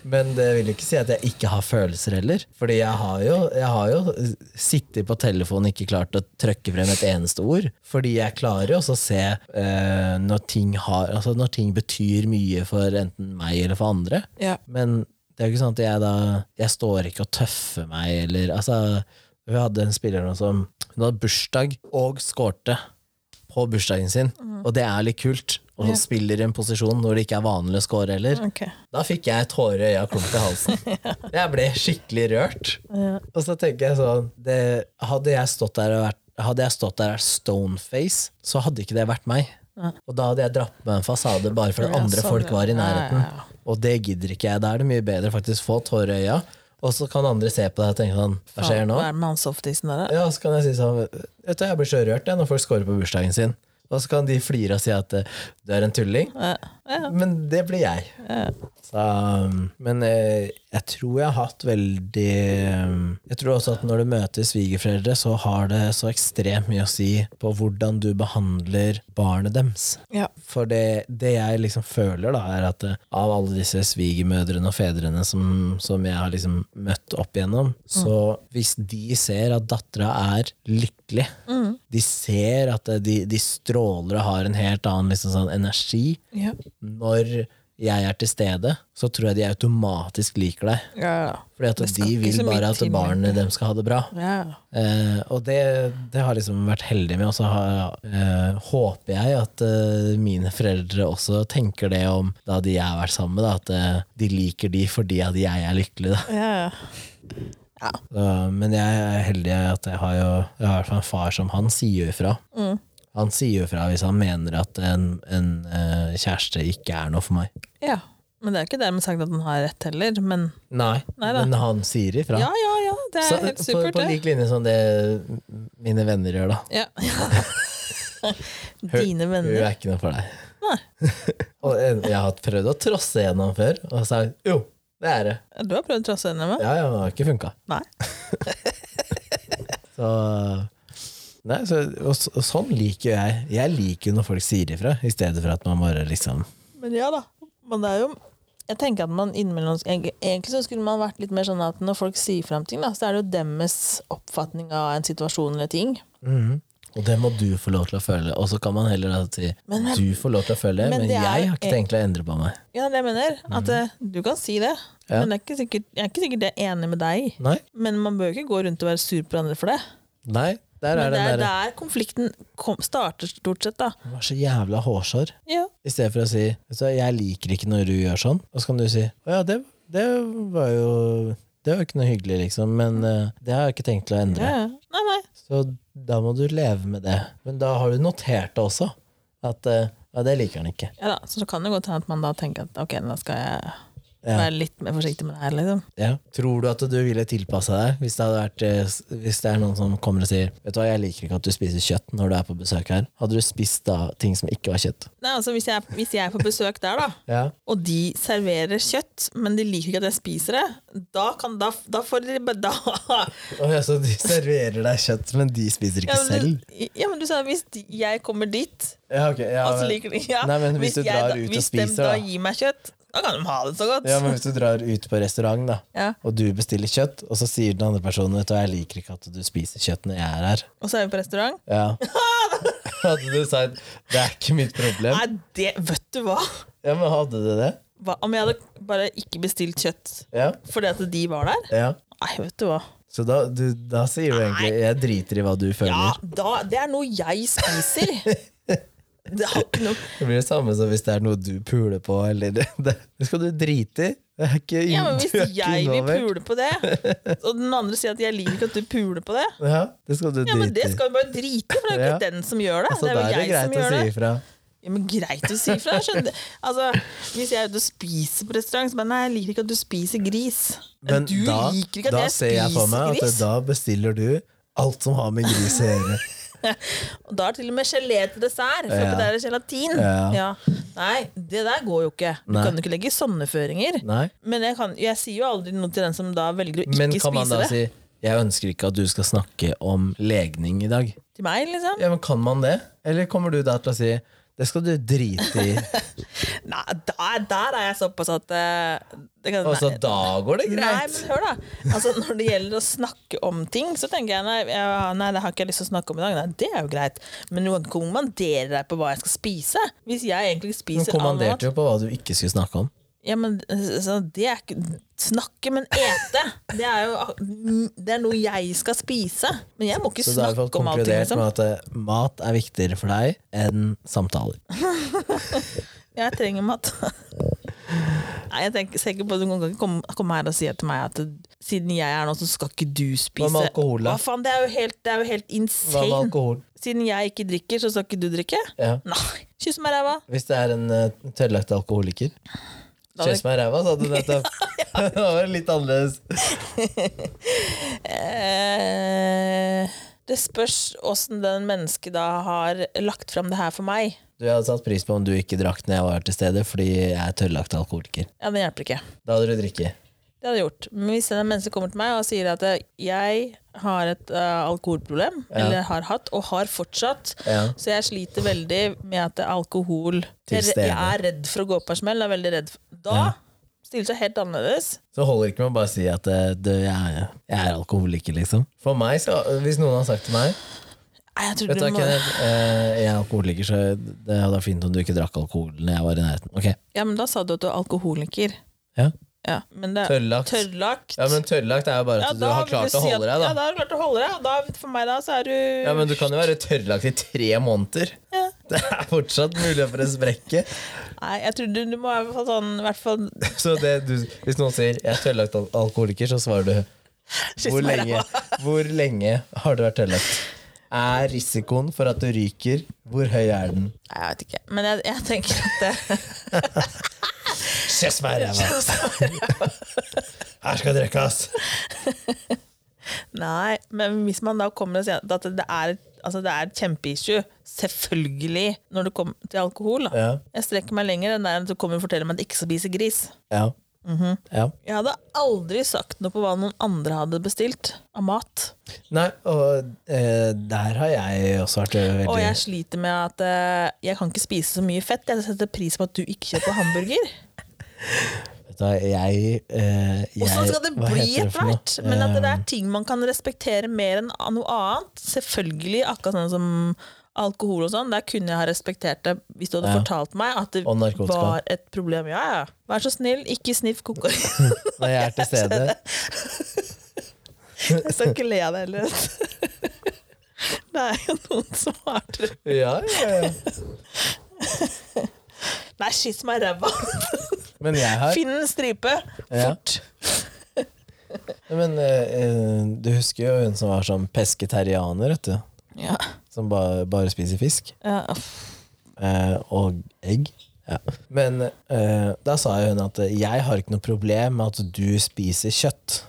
A: Men det vil jo ikke si at jeg ikke har følelser heller. Fordi jeg har jo, jeg har jo eh, sittet på telefonen ikke klart å trykke frem et eneste ord. Fordi jeg klarer jo også å se eh, når, ting har, altså når ting betyr mye for enten meg eller for andre.
B: ja.
A: Men det er jo ikke sånn at jeg da Jeg står ikke og tøffer meg, eller Altså, vi hadde en spiller nå som Hun hadde bursdag og skårte på bursdagen sin, og det er litt kult. Og
B: Mhm. Ja.
A: hun spiller i en posisjon hvor det ikke er vanlig å score heller.
B: Ok.
A: Da fikk jeg tårer i øya og klump i halsen. Jeg ble skikkelig rørt.
B: Ja.
A: Og så tenker jeg sånn det, Hadde jeg stått der og vært hadde jeg stått der og vært stoneface, så hadde ikke det vært meg.
B: Nei.
A: Og da hadde jeg dratt på meg en fasade bare fordi
B: Ja,
A: andre
B: sånn,
A: folk var i
B: ja. Ja,
A: nærheten.
B: ja, ja.
A: Og det gidder ikke jeg. Da er det mye bedre faktisk å få tårer i øya, og så kan andre se på deg og tenke sånn Hva skjer nå?
B: Hva er det med han softisen der, da?
A: Ja, så kan jeg si sånn Vet du, jeg blir så rørt jeg, når folk scorer på bursdagen sin. Og så kan de flire og si at eh, du er en tulling.
B: Ja. Ja.
A: Men det blir jeg.
B: Ja.
A: Så, um, men eh, jeg tror jeg har hatt veldig um, Jeg tror også at når du møter svigerforeldre, så har det så ekstremt mye å si på hvordan du behandler barnet deres.
B: Ja.
A: For det, det jeg liksom føler, da, er at eh, av alle disse svigermødrene og fedrene som, som jeg har liksom møtt opp igjennom,
B: Mm.
A: så hvis de ser at dattera er lykkelig,
B: Mm.
A: de ser at eh, de, de stråler og har en helt annen liksom sånn energi,
B: Ja.
A: når jeg er til stede, så tror jeg de automatisk liker deg.
B: Ja. ja.
A: Fordi at
B: Det skal
A: de
B: ikke
A: vil
B: så mye
A: bare at
B: til,
A: barnet dem skal ha det bra.
B: Ja.
A: Eh, og det, det har liksom vært heldig med, og så har- eh, håper jeg at eh, mine foreldre også tenker det om da de jeg har vært sammen med, da, at eh, de liker de fordi at jeg er lykkelig. Da.
B: Ja.
A: Så, men jeg er heldig at jeg har jo jeg har i hvert fall en far som han sier jo ifra.
B: Mm.
A: Han sier jo ifra hvis han mener at en, en eh, kjæreste ikke er noe for meg.
B: ja. Men det er jo ikke dermed sagt at han har rett heller, men
A: Nei,
B: Nei da.
A: men han sier ifra.
B: Ja, ja, ja. Det er
A: Så,
B: helt
A: på-
B: supert,
A: på
B: det.
A: lik linje som det mine venner gjør, da.
B: Ja.
A: Hun-
B: Dine
A: Hun
B: venner.
A: er ikke noe for deg. og en- jeg har prøvd å trosse gjennom før, og sagt jo, det er det.
B: Du har prøvd å trasse henne med?
A: Ja, ja, men det har ikke funka.
B: Nei.
A: Så Nei, så, og, så- og sånn liker jo jeg. Jeg liker jo når folk sier ifra, i stedet for at man bare liksom
B: Men ja da. Men det er jo jeg tenker at man innimellom eg- Egentlig så skulle man vært litt mer sånn at når folk sier fram ting, da, så er det jo deres oppfatning av en situasjon eller ting.
A: mhm. Og det må du få lov til å føle, og så kan man heller da si
B: Men- men-
A: du får lov til å føle det, men,
B: men det er eh,
A: jeg
B: jo
A: har ikke
B: en-
A: tenkt å endre på meg.
B: Ja, det er det jeg mener. At eh, du kan si det,
A: Mhm. Ja.
B: men det er ikke sikkert, jeg er ikke sikkert jeg er enig med deg.
A: Nei,
B: Men man bør jo ikke gå rundt og være sur på hverandre for det.
A: nei der er
B: Men det er
A: den derre
B: der konflikten kom, starter, stort sett. da.
A: Du har så jævla hårsår.
B: Ja.
A: I stedet for å si vet du, hva, 'jeg liker ikke når du gjør sånn', og så kan du si 'å ja, det, det var jo det var jo ikke noe hyggelig, liksom, men eh, det har jeg ikke tenkt til å
B: Ja,
A: endre.
B: ja. Nei, nei.
A: Så da må du leve med det. Men da har du notert det også. At eh, ja, det liker han ikke.
B: Ja da, så det kan jo godt hende at man da tenker at ok, da skal jeg
A: Ja.
B: Være litt mer forsiktig med det her, liksom.
A: Ja. Tror du at du ville tilpassa deg hvis det, hadde vært, eh, s- hvis det er noen som kommer og sier Vet du hva, jeg liker ikke at du spiser kjøtt når du er på besøk her? Hadde du spist da ting som ikke var kjøtt?
B: Nei, altså hvis jeg, hvis jeg er på besøk der, da,
A: Ja.
B: og de serverer kjøtt, men de liker ikke at jeg spiser det, da kan da, da får de bare- da
A: så de serverer deg kjøtt, men de spiser ikke
B: ja, men,
A: selv?
B: du- ja, men du sa hvis de- jeg kommer dit,
A: Ja, ok. Ja,
B: og så
A: men-
B: liker de ja,
A: Nei, men hvis du
B: jeg
A: drar
B: da-
A: ut og
B: hvis
A: spiser,
B: de da
A: da.
B: gir meg kjøtt, da kan de ha det så godt.
A: ja, men hvis du drar ut på restaurant, da.
B: Ja.
A: Og du bestiller kjøtt, og så sier den andre personen Vet du, hva, jeg liker ikke at du spiser kjøtt når jeg er her.
B: Og så er vi på restaurant.
A: Ja. Hadde du sagt Det er ikke mitt problem.
B: Nei, det Vet du hva?
A: Ja, men hadde du det?
B: hva? Om jeg hadde bare ikke bestilt kjøtt
A: Ja.
B: fordi at de var der?
A: ja.
B: Nei, vet du hva.
A: Så da, du, da sier du egentlig 'jeg driter i hva du
B: Ja,
A: føler'.
B: da, det er noe jeg spiser. Det har ikke noe
A: Det blir det samme som hvis det er noe du puler på. Eller det, det det skal du drite i. Det er ikke,
B: Ja, men
A: du
B: hvis
A: er ikke
B: jeg vil
A: involvert.
B: pule på det, og den andre sier at jeg liker ikke at du puler på det,
A: Ja, det skal du
B: ja, men det
A: drite i.
B: skal vi bare drite i, for det er jo ikke den som gjør det.
A: Så
B: Det er
A: da
B: jo
A: er det
B: jeg
A: greit
B: som
A: å
B: gjør
A: si
B: det.
A: ifra.
B: Ja, men greit å si ifra. skjønner du? Altså, hvis jeg er ute og spiser på restaurant, så bare nei, jeg liker ikke at du spiser gris.
A: Men
B: du
A: da,
B: liker ikke at
A: da
B: jeg
A: ser jeg for
B: spiser
A: meg at
B: gris.
A: da bestiller du alt som har med gris å gjøre.
B: Og da er det til og med gelé til dessert, for
A: Ja.
B: det er gelatin.
A: Ja.
B: Nei, det der går jo ikke. Du
A: Nei.
B: kan jo ikke legge sånne føringer.
A: Nei.
B: Men jeg, kan, jeg sier jo aldri noe til den som da velger å ikke
A: Men kan man
B: spise
A: da
B: det.
A: si 'jeg ønsker ikke at du skal snakke om legning i dag'?
B: Til meg, liksom.
A: Ja, men Kan man det? Eller kommer du da til å si 'det skal du drite i',
B: Nei, der, der er jeg såpass at eh, det kan,
A: og så
B: nei,
A: da går det
B: Nei,
A: greit?
B: men hør da. Altså, når det gjelder å snakke om ting, så tenker jeg nei, ja, nei det har ikke jeg lyst til å snakke om i dag. Nei, det er jo greit. Men noen kommanderer deg på hva jeg skal spise. Hvis jeg egentlig
A: Hun
B: spiser all mat
A: kommanderte jo på hva du ikke skulle snakke om.
B: ja, men, eh, så Det er ikke snakke, men ete. Det er jo ak- det er noe jeg skal spise. Men jeg må ikke
A: Så da har vi fått
B: snakke om allting.
A: konkludert
B: Liksom.
A: med at eh, mat er viktigere for deg enn samtaler.
B: Jeg trenger mat. Nei, jeg tenker, tenker på Du kan ikke komme, komme her og si til meg at siden jeg er nå, så skal ikke du spise
A: Hva med alkohol, da?
B: Hva faen, det er jo helt, det er jo helt
A: Hva med
B: insane.
A: alkohol?
B: Siden jeg ikke drikker, så skal ikke du drikke?
A: Ja.
B: Nei. Kyss meg i ræva.
A: Hvis det er en eh, tørrlagt alkoholiker.
B: Da-
A: Kjess meg i ræva, sa du nettopp. det var litt annerledes.
B: Eh, det spørs åssen den mennesket da har lagt fram det her for meg.
A: Du jeg hadde satt pris på om du ikke drakk når jeg var til stede, fordi jeg er tørrlagt alkoholiker.
B: Ja, det hjelper ikke.
A: Da hadde du drikket.
B: Det hadde jeg gjort. Men hvis en menneske kommer til meg og sier at eh, jeg har et eh, alkoholproblem, eller har hatt, og har fortsatt,
A: Ja.
B: så jeg sliter veldig med at det er alkohol
A: Til
B: jeg,
A: stede.
B: jeg er redd for å gå på en smell. Jeg er veldig redd for. Da
A: Ja.
B: stiller seg helt annerledes.
A: Så holder det ikke med å bare si at eh, du, jeg, er- jeg er alkoholiker, liksom. For meg, så, hvis noen har sagt til meg
B: Nei, jeg tror
A: Vet du
B: du
A: hva,
B: må...
A: Kenneth, eh, jeg er alkoholiker, så det hadde vært fint om du ikke drakk alkohol når jeg var i nærheten. Ok,
B: Ja, men da sa du at du er alkoholiker.
A: ja.
B: Ja, men det
A: Tørrlagt.
B: Tørrlagt.
A: Ja, men tørrlagt er jo bare
B: Ja,
A: at du
B: da
A: har
B: vil
A: klart
B: si
A: å holde
B: at-
A: deg, da.
B: Ja, da har du klart å holde deg, og da, for meg da, så er du
A: Ja, men du kan jo være tørrlagt i tre måneder.
B: Ja.
A: Det er fortsatt mulighet for en sprekke.
B: Nei, jeg tror du, du må i hvert fall sånn, i hvert fall
A: Så det du, hvis noen sier 'jeg er tørrlagt al- alkoholiker', så svarer du hvor
B: meg i
A: lenge, hvor lenge har du vært tørrlagt? Er risikoen for at du ryker, hvor høy er den?
B: Nei, jeg vet ikke. Men jeg, jeg tenker at det
A: Kjess meg i ræva! Her skal det drikkes!
B: Nei, men hvis man da kommer og sier at det er, altså det er et kjempeissue, selvfølgelig, når det kommer til alkohol, da.
A: Ja.
B: Jeg strekker meg lenger enn der at du kommer og forteller meg at jeg ikke skal spise gris.
A: Ja.
B: Mhm.
A: ja.
B: Jeg hadde aldri sagt noe på hva noen andre hadde bestilt av mat.
A: Nei, og eh, der har jeg også vært veldig
B: Og jeg sliter med at eh, jeg kan ikke spise så mye fett. Jeg setter pris på at du ikke kjøper hamburger.
A: Vet du hva, jeg, eh, jeg
B: Hvordan skal det
A: hva heter
B: bli
A: det
B: etter
A: for noe?
B: hvert? Men at det er ting man kan respektere mer enn noe annet. Selvfølgelig, akkurat sånn som alkohol og sånn, der kunne jeg ha respektert det hvis du hadde
A: Ja.
B: fortalt meg at det
A: Og narkotika.
B: var et problem. Ja, ja. Vær så snill, ikke sniff kokain.
A: Når jeg er til stede
B: Jeg skal ikke le av det heller. Det er jo noen som har det.
A: Ja, ja, ja.
B: Nei, skyss meg i ræva!
A: Men jeg har
B: Finn en stripe!
A: ja.
B: Fort!
A: Men eh, eh, du husker jo hun som var sånn pesketerianer, vet du.
B: Ja.
A: Som ba, bare spiser fisk.
B: Ja.
A: eh, og egg. Ja. Men eh, da sa jo hun at eh, jeg har ikke noe problem med at du spiser kjøtt.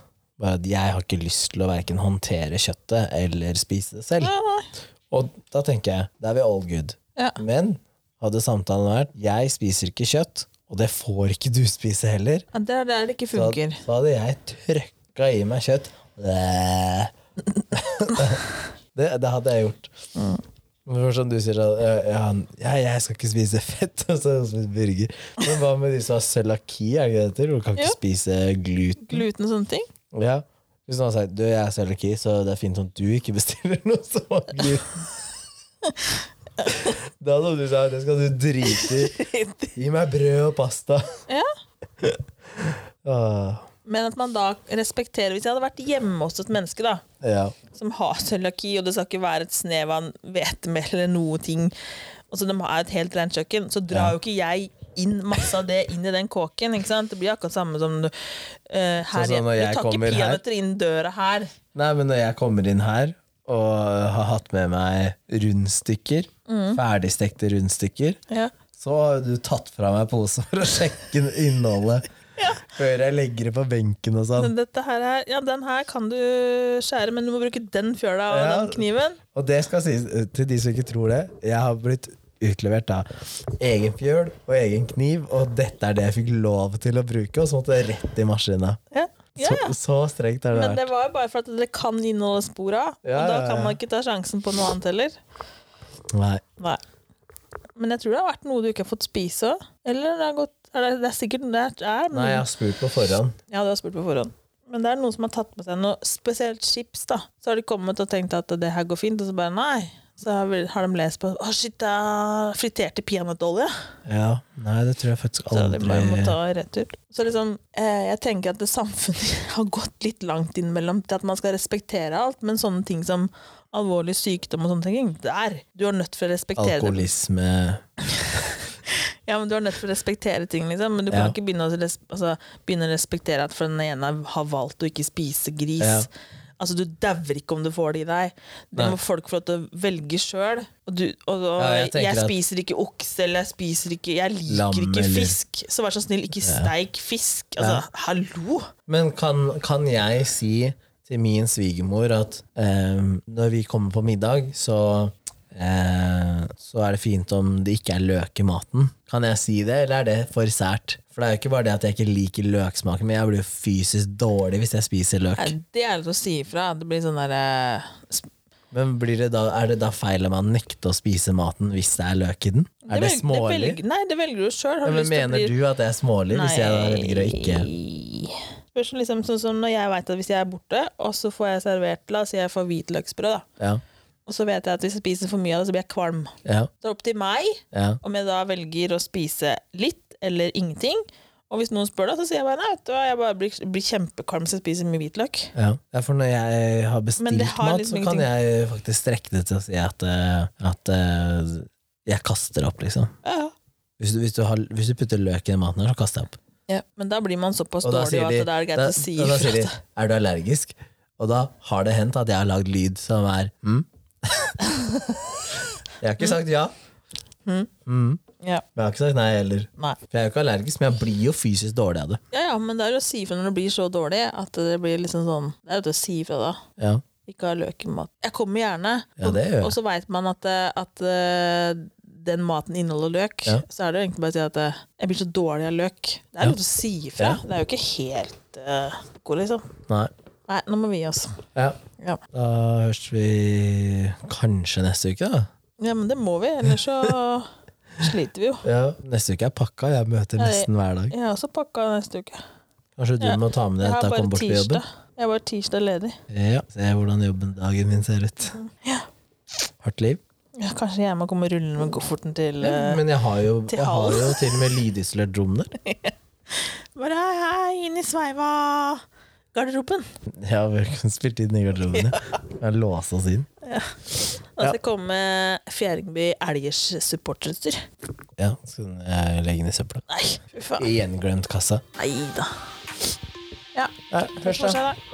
A: Bare at jeg har ikke lyst til å verken håndtere kjøttet eller spise det selv.
B: Ja, nei.
A: Og da tenker jeg, da er vi all good.
B: Ja.
A: Men hadde samtalen vært, jeg spiser ikke kjøtt, og det får ikke du spise heller,
B: Ja, Det er der det ikke
A: så,
B: funker.
A: så hadde jeg trøkka i meg kjøtt. Bæ. Det, det hadde jeg gjort. Men for Som du sier, da, øh, ja, ja, jeg skal ikke spise fett, og så spiser burger. Men hva med de som har cøliaki? er det ikke det det heter? Hvor Du kan ikke
B: Ja.
A: spise gluten.
B: Gluten og sånne ting.
A: Ja. Hvis noen har sagt du, jeg har cøliaki, så det er fint om du ikke bestiller noe som har gluten. Da hadde du sagt det skal du drite i. Gi meg brød og pasta.
B: Ja.
A: Ah,
B: Men at man da respekterer Hvis jeg hadde vært hjemme hos et menneske da
A: ja.
B: som har cøliaki, og det skal ikke være et snev av hvetemel eller noe ting, og så de har et helt rent kjøkken, så drar jo ikke jeg inn masse av det inn i den kåken. ikke sant? Det blir akkurat samme som du, eh, her
A: Sånn som når
B: hjemme.
A: jeg
B: Du tar
A: kommer
B: ikke
A: her.
B: peanøtter inn døra her.
A: Nei, men når jeg kommer inn her og har hatt med meg rundstykker, ferdigstekte rundstykker,
B: Mm. Ja.
A: så har du tatt fra meg posen for å sjekke innholdet før jeg legger det på benken og sånn.
B: Men dette her er, ja, den her kan du skjære, men du må bruke den fjøla og
A: Ja.
B: den kniven.
A: Og det skal sies eh, til de som ikke tror det. Jeg har blitt utlevert av egen fjøl og egen kniv, og dette er det jeg fikk lov til å bruke, og så måtte det rett i maskina.
B: Ja. Ja, ja.
A: Så, så strengt har det
B: Men det
A: vært.
B: var jo bare for at det kan inneholde spor av,
A: Ja,
B: og da
A: ja, ja.
B: kan man ikke ta sjansen på noe annet heller.
A: Nei.
B: Nei. Men jeg tror det har vært noe du ikke har fått spise òg. Eller det har gått er det, det er sikkert det er, er noe-
A: Nei, jeg har spurt på forhånd.
B: Ja, du har spurt på forhånd. Men det er noen som har tatt med seg noe spesielt chips, da. Så har de kommet og tenkt at det her går fint, og så bare nei. Så har vi- har de lest på Å, shit, det er friterte peanøttolje.
A: Ja, Nei, det tror jeg faktisk
B: Så de bare må
A: aldri
B: ta retur. Så liksom, eh, jeg tenker at det samfunnet har gått litt langt innimellom til at man skal respektere alt, men sånne ting som alvorlig sykdom og sånne ting, der! Du er nødt til å respektere det.
A: Alkoholisme
B: Ja, men Du er nødt til å respektere ting, liksom. Men du
A: Ja.
B: kan ikke begynne å, res altså, begynne å respektere at for den ene har valgt å ikke spise gris.
A: Ja.
B: Altså, Du dauer ikke om du får det i deg. Det
A: Nei.
B: må folk få lov til å velge sjøl. Og, du, og, og
A: Ja, jeg
B: jeg,
A: tenker at-
B: spiser ikke okse, eller jeg spiser ikke Jeg liker
A: Lam,
B: ikke
A: eller-
B: fisk. Så vær så snill, ikke steik fisk. Altså,
A: Ja.
B: hallo!
A: Men kan, kan jeg si til min svigermor at eh, når vi kommer på middag, så eh, Så er det fint om det ikke er løk i maten. Kan jeg si det, eller er det for sært? For det er jo ikke bare det at jeg ikke liker løksmaken, men jeg blir jo fysisk dårlig hvis jeg spiser løk.
B: Nei, det er litt å si ifra. Det blir sånn derre
A: Men blir det da, er det da feil om man nekter å spise maten hvis det er løk i den? Er det, smålig?
B: Nei, det velger du sjøl.
A: Ja, men mener du at det er smålig hvis jeg da velger å ikke
B: Nei. Spørs om liksom, sånn som når jeg vet at hvis jeg er borte, og så får jeg servert La oss si jeg får hvitløksbrød, da.
A: Ja.
B: Og så vet jeg at hvis jeg spiser for mye av det, så blir jeg kvalm.
A: Ja.
B: Det er opp til meg
A: ja.
B: om jeg da velger å spise litt eller ingenting. Og hvis noen spør, da, så sier jeg bare nei, vet du hva, jeg bare blir, blir kjempekvalm hvis jeg spiser mye hvitløk.
A: Ja. ja, for når jeg har
B: Men
A: bestilt
B: det har
A: mat,
B: liksom
A: så kan jeg faktisk strekke det til å si at, eh, at eh, jeg kaster opp, liksom.
B: Ja, ja.
A: Hvis du, hvis, du har, hvis du putter løk i den maten, her, så kaster jeg opp.
B: ja. Men da blir man såpass
A: Og da
B: dårlig
A: sier
B: at
A: de,
B: det er greit
A: da,
B: å si
A: og da
B: ifra.
A: sier de 'er du allergisk'? Og da har det hendt at jeg har lagd lyd som er mm. Jeg har ikke sagt ja,
B: Ja,
A: men jeg har ikke sagt nei heller.
B: nei.
A: For jeg er jo ikke allergisk, men jeg blir jo fysisk dårlig av det.
B: Ja, ja, men det er jo å si ifra når det blir så dårlig at det blir liksom sånn Det er jo til å si ifra da.
A: Ja,
B: Ikke ha løk i mat. Jeg kommer gjerne,
A: Ja, det gjør jeg.
B: og så veit man at, eh, at eh, den maten inneholder løk.
A: Ja.
B: Så er det jo egentlig bare å si at eh, jeg blir så dårlig av løk. Det
A: Ja.
B: er lov til å si ifra.
A: Ja.
B: Det er jo ikke helt uh, god, liksom.
A: nei.
B: Nei, nå må vi gi oss.
A: Ja.
B: Ja.
A: Da høres vi kanskje neste uke, da.
B: ja, men det må vi, ellers så sliter vi jo.
A: Ja. Neste uke er pakka, jeg møter
B: Nei.
A: nesten hver dag.
B: Jeg har også pakka neste uke.
A: Kanskje du
B: Ja.
A: må ta med
B: Jeg
A: deg
B: har
A: dette og
B: bare
A: komme bort til jobben?
B: tirsdag. Jeg har bare tirsdag ledig.
A: Ja, Se hvordan jobben dagen min ser ut. Hardt liv.
B: Ja, kanskje jeg må komme rullende med kofferten til eh,
A: Men jeg har jo,
B: til
A: jeg har
B: halv.
A: jo til og med lydisolert rom der.
B: Bare hei, hei, inn i sveiva garderoben.
A: Ja, vi har spilt inn i garderoben, ja. Jeg låser oss inn.
B: Og så kommer Fjerdingby Elgers supporterutstyr.
A: Ja, skal den- jeg legge den i søpla.
B: Nei, fy faen.
A: I gjenglemt kassa.
B: Nei da. Ja.
A: Ja, hørs da.
B: Fortsett, da.